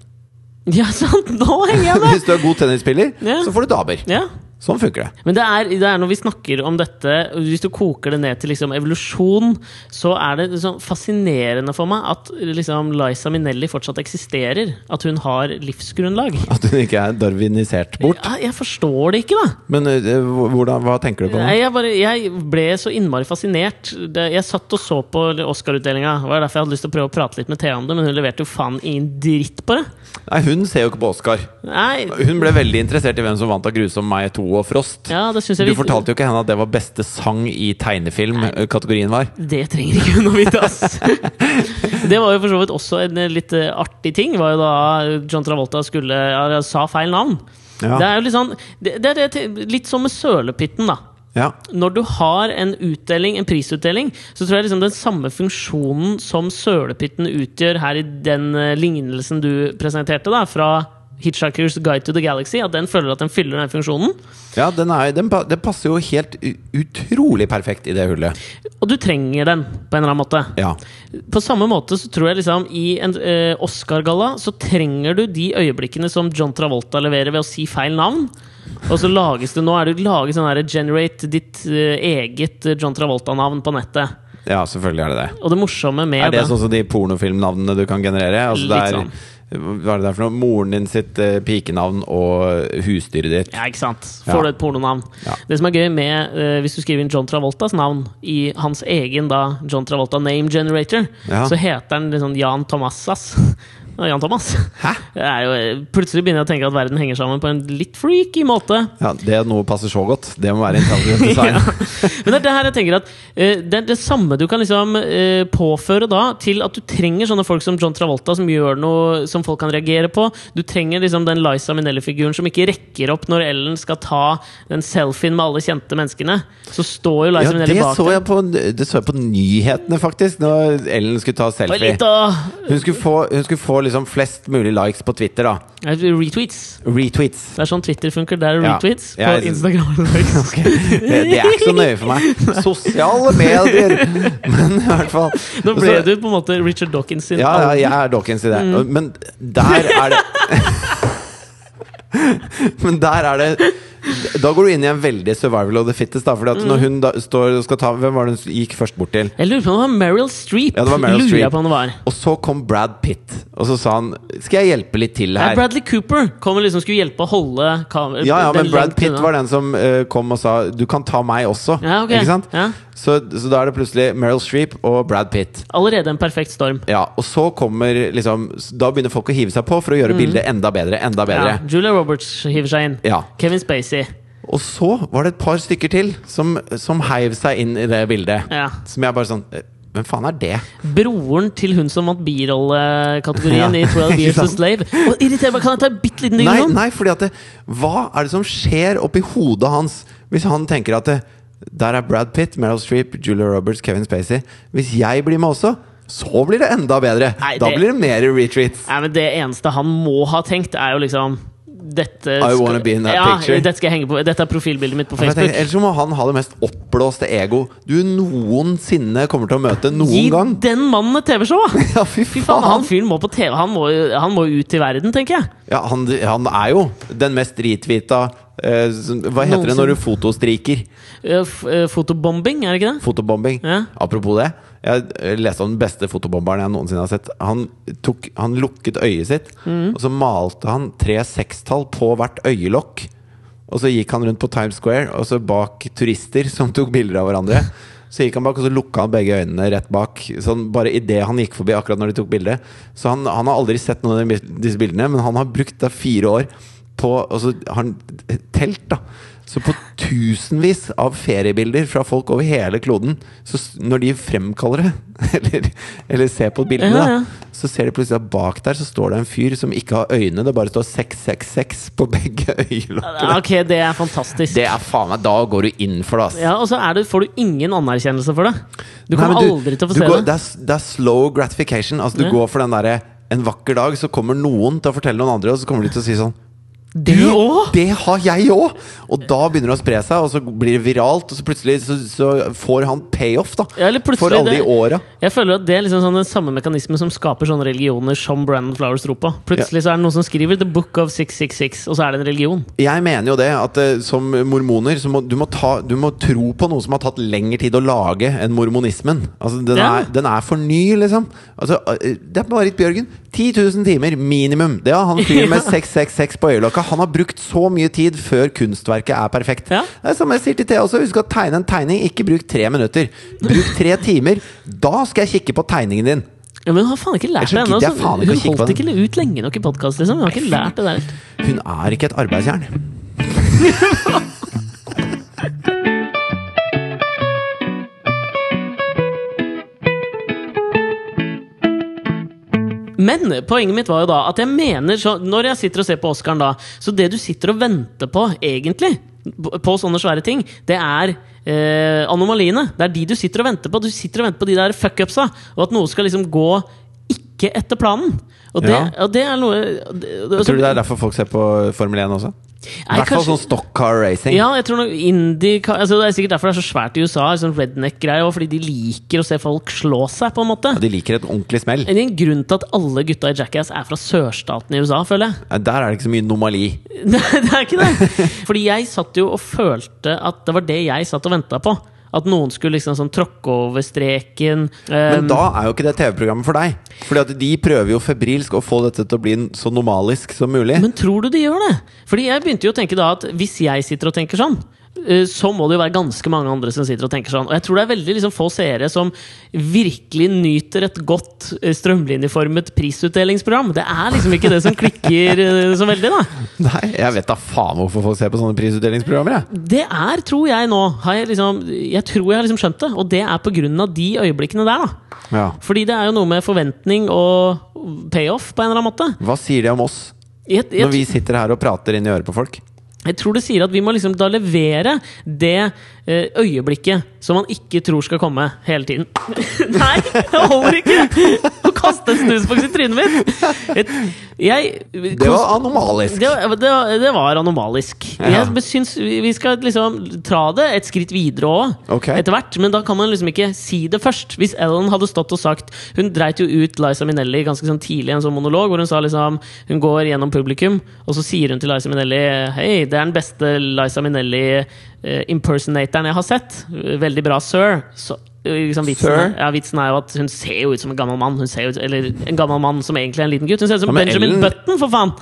Ja, sant! Nå henger jeg med!
Hvis du er god tennisspiller,
Ja.
så får du damer.
Ja.
Sånn funker det.
Men det er, det er når vi snakker om dette, hvis du koker det ned til liksom evolusjon, så er det liksom fascinerende for meg at liksom Liza Minnelli fortsatt eksisterer. At hun har livsgrunnlag.
At hun ikke er darwinisert bort.
Ja, jeg forstår det ikke, da!
Men eh, hvordan, hva tenker du på
Nei,
nå?
jeg, bare, jeg ble så innmari fascinert. Det, jeg satt og så på Oscar-utdelinga. Det var derfor jeg hadde lyst til å prøve å prate litt med Thea om det, men hun leverte jo faen ingen dritt på det.
Nei, hun ser jo ikke på Oscar.
Nei,
Hun ble veldig interessert i hvem som vant av 'Grusom meg 2' og 'Frost'.
ja, det synes jeg
Du
vi-
fortalte jo ikke henne at det var beste sang i tegnefilm-kategorien var.
Det trenger ikke hun å vite, ass! Det var jo for så vidt også en eh, litt eh, artig ting. Var jo da eh, John Travolta skulle ja, sa feil navn.
Ja.
Det er jo litt sånn det, det er det, til- Litt som med sølepytten, da.
Ja.
Når du har en utdeling, en prisutdeling, så tror jeg liksom den samme funksjonen som sølepytten utgjør her i den eh, lignelsen du presenterte, da, fra Hitchhiker's Guide to the Galaxy, at den føler at den fyller den funksjonen.
Ja, den er, den, pa- det passer jo helt u- utrolig perfekt i det hullet.
Og du trenger den, på en eller annen måte.
Ja.
På samme måte så tror jeg liksom i en eh, Oscar-galla så trenger du de øyeblikkene som John Travolta leverer ved å si feil navn. Og så lages det nå er det laget sånn her Generate ditt eh, eget eh, John Travolta-navn på nettet.
ja, selvfølgelig er det det.
Og det morsomme med
Er det sånn som de pornofilmnavnene du kan generere? Altså, det er,
Litt sånn.
Hva er det der for noe? Moren din sitt eh, pikenavn og husdyret ditt.
Ja, ikke sant?
Ja.
Får du et pornonavn.
Ja.
Det som er gøy med eh, Hvis du skriver inn John Travoltas navn i hans egen da John Travolta name generator,
Ja.
så heter han liksom Jan Thomassas. Ja, Jan Thomas.
Hæ?
Det er jo, eh, plutselig begynner jeg å tenke at verden henger sammen på en litt freaky måte.
Ja, det at noe passer så godt, det må være intelligent design.
Men det er det her jeg tenker at eh, det er det samme du kan liksom eh, påføre da til at du trenger sånne folk som John Travolta, som gjør noe som folk kan reagere på. Du trenger liksom den Liza Minnelli-figuren som ikke rekker opp når Ellen skal ta den selfien med alle kjente menneskene. Så står jo
Ja,
Liza
det,
Minnelli bak
så
deg.
jeg på, det så jeg på nyhetene, faktisk, når Ellen skulle ta
Det var
selfie.
litt av
Hun skulle få, hun skulle få liksom flest mulig likes på Twitter, da.
eh, retweets.
Retweets.
Det er sånn Twitter funker. Det er
Ja.
retweets
Jeg-
på Instagram. og likes.
Det, det er ikke så nøye for meg. Sosiale medier! Men i hvert fall
Nå ble
så-
du Mm. på en måte Richard Dawkins sin
Ja, ja,
alder.
jeg er Dawkins i det. Men der er det Men der er det Da går du inn i en veldig survival of the fittest. Da, fordi at
Mm.
når hun da står og skal ta Hvem var det hun gikk først bort til?
Jeg lurer på om det var Meryl Streep.
Ja, det var Meryl
lurer
Streep.
jeg på om det var.
Og så kom Brad Pitt, og så sa han Skal jeg hjelpe litt til
Nei,
her?
Bradley Cooper kom og liksom skulle hjelpe å holde kameraet
Ja, ja, men Brad Pitt var den som eh, kom og sa 'du kan ta meg også'.
Ja, ok.
Ikke sant?
Ja.
Så, så da er det plutselig Meryl Streep og Brad Pitt.
Allerede en perfekt storm.
Ja, og så kommer liksom Da begynner folk å hive seg på for å gjøre bildet enda bedre. Enda bedre
Mm. Ja, Julia Roberts hiver seg inn.
Ja.
Kevin Spacey.
Og så var det et par stykker til som, som heiv seg inn i det bildet.
Ja.
Som jeg bare sånn eh, Hvem faen er det?
Broren til hun som vant birollekategorien
Ja.
i 12 Years
Ikke
a
sant?
Slave. Og irriterer meg, Kan jeg ta en bitte liten
Nei,
digresjon?
nei, fordi at det, Hva er det som skjer oppi hodet hans hvis han tenker at det, der er Brad Pitt, Meryl Streep, Julia Roberts, Kevin Spacey. Hvis jeg blir med også, så blir det enda bedre!
Nei,
Da
det-
blir det mer retreats.
Nei, men Det eneste han må ha tenkt, er jo liksom dette
I
skal-
wanna be in that
ja,
picture.
Dette, skal jeg henge på. dette er profilbildet mitt på
For jeg
Facebook.
tenker, Ellers så må han ha det mest oppblåste ego du noensinne kommer til å møte noen
Gi
gang.
den mannen et TV-show! da.
Ja, fy
Fy faen, han
faen!
fyren må på TV. Han må, jo- han må jo ut i verden, tenker jeg.
Ja, han, han er jo den mest dritvita eh, som- Hva heter det når du fotostriker?
Eh, f- eh, Fotobombing, er det ikke det?
Fotobombing.
Ja.
Apropos det. Jeg leste om den beste fotobomberen jeg noensinne har sett. Han, tok, han lukket øyet sitt,
Mm.
og så malte han tre sekstall på hvert øyelokk. Og så gikk han rundt på Times Square, og så bak turister som tok bilder av hverandre. Så gikk han bak, og så lukka han begge øynene rett bak. Sånn bare idet han gikk forbi, akkurat når de tok bildet. Så han, han har aldri sett noen av de- disse bildene, men han har brukt da fire år på Og så har han telt, da. Så på tusenvis av feriebilder fra folk over hele kloden, så s- når de fremkaller det, eller, eller ser på bildene,
Ja, ja.
da, så ser de plutselig at bak der så står det en fyr som ikke har øyne, det bare står 666 på begge øyelokkene.
Ja, Ok, det er fantastisk.
Det er faen meg Da går du inn for det, ass.
Ja, Og så er det, får du ingen anerkjennelse for det.
Nei,
Du kommer
men
aldri til å få
du
se
går,
det.
det. Er, s- det er slow gratification. Altså Du
Ja.
går for den derre En vakker dag så kommer noen til å fortelle noen andre, og så kommer de til å si sånn
Du
«Det-
òg!
Det har jeg òg! Og da begynner det å spre seg, og så blir det viralt, og så plutselig så, så får han payoff, da.
Ja, eller plutselig
for alle
det-
de åra.
Jeg føler at Det er liksom sånn den samme mekanismen som skaper sånne religioner som Brandon Flowers tror på. Plutselig så er det noen som skriver 'The Book of 666', og så er det en religion.
Jeg mener jo det, at eh, som mormoner så må du, må ta, du må tro på noe som har tatt lengre tid å lage enn mormonismen. Altså, den,
Ja.
er, den er for ny, liksom. Altså, eh, det er Marit Bjørgen. 10 000 timer minimum. Det har han fyren med 666 på øyelokka. Han har brukt så mye tid før kunstverket er perfekt.
Ja.
Det er som jeg sier til Thea også. Husk å tegne en tegning. Ikke bruk tre minutter. Bruk tre timer. Da skal jeg kikke på tegningen din.
Ja, men hun har faen ikke lært
Jeg
det
skjønner
ennå.
ikke, jeg
så
faen ikke
Hun
å kikke på
holdt
den.
ikke ut lenge nok i podkast. Liksom. Hun har ikke lært det der.
Hun er ikke et arbeidsjern.
Men poenget mitt var jo da at jeg mener så Når jeg sitter og ser på Oscaren da, så det du sitter og venter på, egentlig, på på sånne svære ting, det er eh, anomaliene. Det er de du sitter og venter på. Du sitter og venter på de der fuckupsa, og at noe skal liksom gå ikke etter planen. Og det,
Ja.
og det er noe det, altså, det,
Tror du det er derfor folk ser på Formel 1 også? I
Nei,
hvert fall
kanskje-
sånn stock car racing.
Ja, jeg tror noe indie ka- altså Det er sikkert derfor det er så svært i USA, sånn redneck-greie, og fordi de liker å se folk slå seg, på en måte.
Ja, de liker et ordentlig smell.
Det er en grunn til at alle gutta i Jackass er fra sørstaten i USA, føler jeg.
Ja, Der er det ikke så mye nomali.
Nei, det er ikke det. Fordi jeg satt jo og følte at det var det jeg satt og venta på. At noen skulle liksom sånn tråkke over streken.
Men
Um,
da er jo ikke det TV-programmet for deg. Fordi at de prøver jo febrilsk å få dette til å bli så normalisk som mulig.
men tror du de gjør det? Fordi jeg begynte jo å tenke da at hvis jeg sitter og tenker sånn eh, så må det jo være ganske mange andre som sitter og tenker sånn. Og jeg tror det er veldig liksom få seere som virkelig nyter et godt eh, strømlinjeformet prisutdelingsprogram. Det er liksom ikke det som klikker eh, så veldig, da.
Nei, jeg vet da faen hvorfor folk ser på sånne prisutdelingsprogrammer. Jeg.
Det er, tror jeg nå har jeg, liksom, jeg tror jeg har liksom skjønt det, og det er på grunn av de øyeblikkene der. da
Ja.
Fordi det er jo noe med forventning og payoff, på en eller annen måte.
Hva sier de om oss
Jeg,
når vi
jeg,
sitter her og prater inn i øret på folk?
jeg tror det sier at vi må liksom da levere det eh, øyeblikket som man ikke tror skal komme hele tiden. Nei, det holder ikke! Å kaste en snusboks i trynet mitt! Et, jeg,
Det var anomalisk.
det, var- det, var- det var anomalisk.
Ja.
Jeg syns vi vi skal liksom tra det et skritt videre òg,
Ok.
etter hvert. Men da kan man liksom ikke si det først. Hvis Ellen hadde stått og sagt Hun dreit jo ut Liza Minnelli ganske sånn tidlig i en sånn monolog, hvor hun sa liksom Hun går gjennom publikum, og så sier hun til Liza Minnelli Hei, det er den beste Liza Minnelli eh, impersonatoren jeg har sett. Veldig bra, sir. Så, eh, liksom vitsen,
Sir?
Ja, vitsen er jo at hun ser jo ut som en gammel mann. Hun ser jo ut, eller en gammel mann som egentlig er en liten gutt. Hun ser ut
Ja,
som
men
Benjamin
Ellen-
Button, for faen!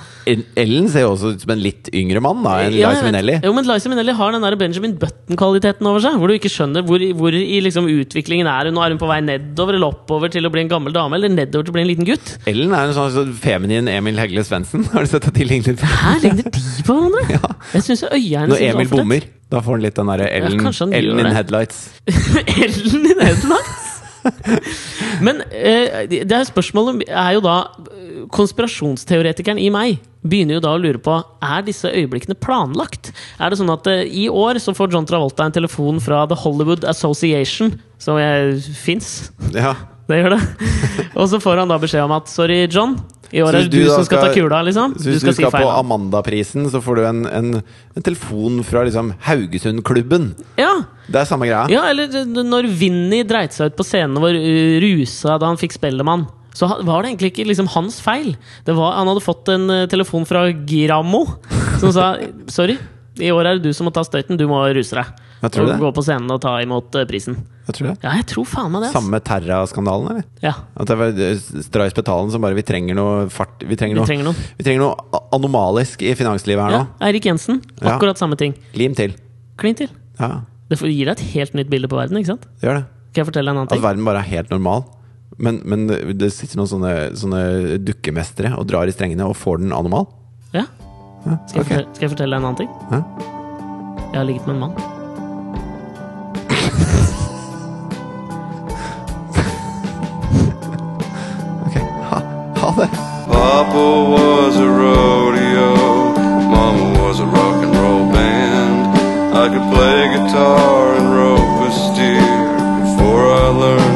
Ellen ser jo også ut som en litt yngre mann da enn
Ja, jeg
Liza
vet.
Minnelli.
Jo, men Liza Minnelli har den der Benjamin Button-kvaliteten over seg. Hvor du ikke skjønner hvor, hvor i liksom utviklingen er hun. Nå er hun på vei nedover eller oppover til å bli en gammel dame, eller nedover til å bli en liten gutt.
Ellen er en sånn sånn feminin Emil Hegle Svendsen. Har du sett at de ligner litt?
Her ligner de på hverandre!
Ja.
Jeg synes øyene
Når
synes
Emil
ofte-
bommer, da får han litt den derre Ellen,
kanskje han gjør
Ellen in
det.
headlights.
Ellen i Nederland! Men eh, det det er spørsmålet er jo da eh, Konspirasjonsteoretikeren i meg begynner jo da å lure på Er disse øyeblikkene planlagt. Er det sånn at eh, I år så får John Travolta en telefon fra The Hollywood Association, som fins.
Ja.
Det gjør det. Og så får han da beskjed om at sorry, John. I
Så
år er
hvis
det du,
du da
som skal,
skal-
ta kula, liksom.
Så hvis du skal,
si feil.
på
da.
Amandaprisen, så får du en, en, en telefon fra liksom Haugesundklubben.
Ja.
Det er samme greia.
ja, eller eh, når Vinni dreit seg ut på scenen hvor eh, rusa da han fikk Spellemann. Så ha- var det egentlig ikke liksom hans feil. Det var, han hadde fått en eh, telefon fra Grammo som sa sorry, i år er det du som må ta støyten, du må ruse deg.
Jeg tror
og
det.
gå på scenen og ta imot eh, prisen.
Jeg tror det.
Ja, jeg tror faen meg det. ass.
Samme Terra-skandalen, eller?
Ja.
At det var eh, Stray Spetalen som bare Vi trenger noe fart Vi trenger
Vi
noe,
trenger noe.
Vi trenger noe a- anomalisk i finanslivet her
ja.
nå.
Eirik Jensen,
Ja.
akkurat samme ting.
Lim til.
Klin til.
Ja,
Det får- gir deg et helt nytt bilde på verden, ikke sant?
det gjør det.
Kan jeg fortelle deg en annen
At
ting?
verden bare er helt normal. Men, men det sitter noen sånne, sånne dukkemestere og drar i strengene og får den anomal.
Ja?
Ja,
Skal,
ok.
jeg fortelle, skal jeg fortelle deg en annen ting?
Ja.
Jeg har ligget med en mann.
Ok. Ha, ha det!
Papa was a rodeo, Mama was a rock and roll band. I could play guitar and rope a steer before I learned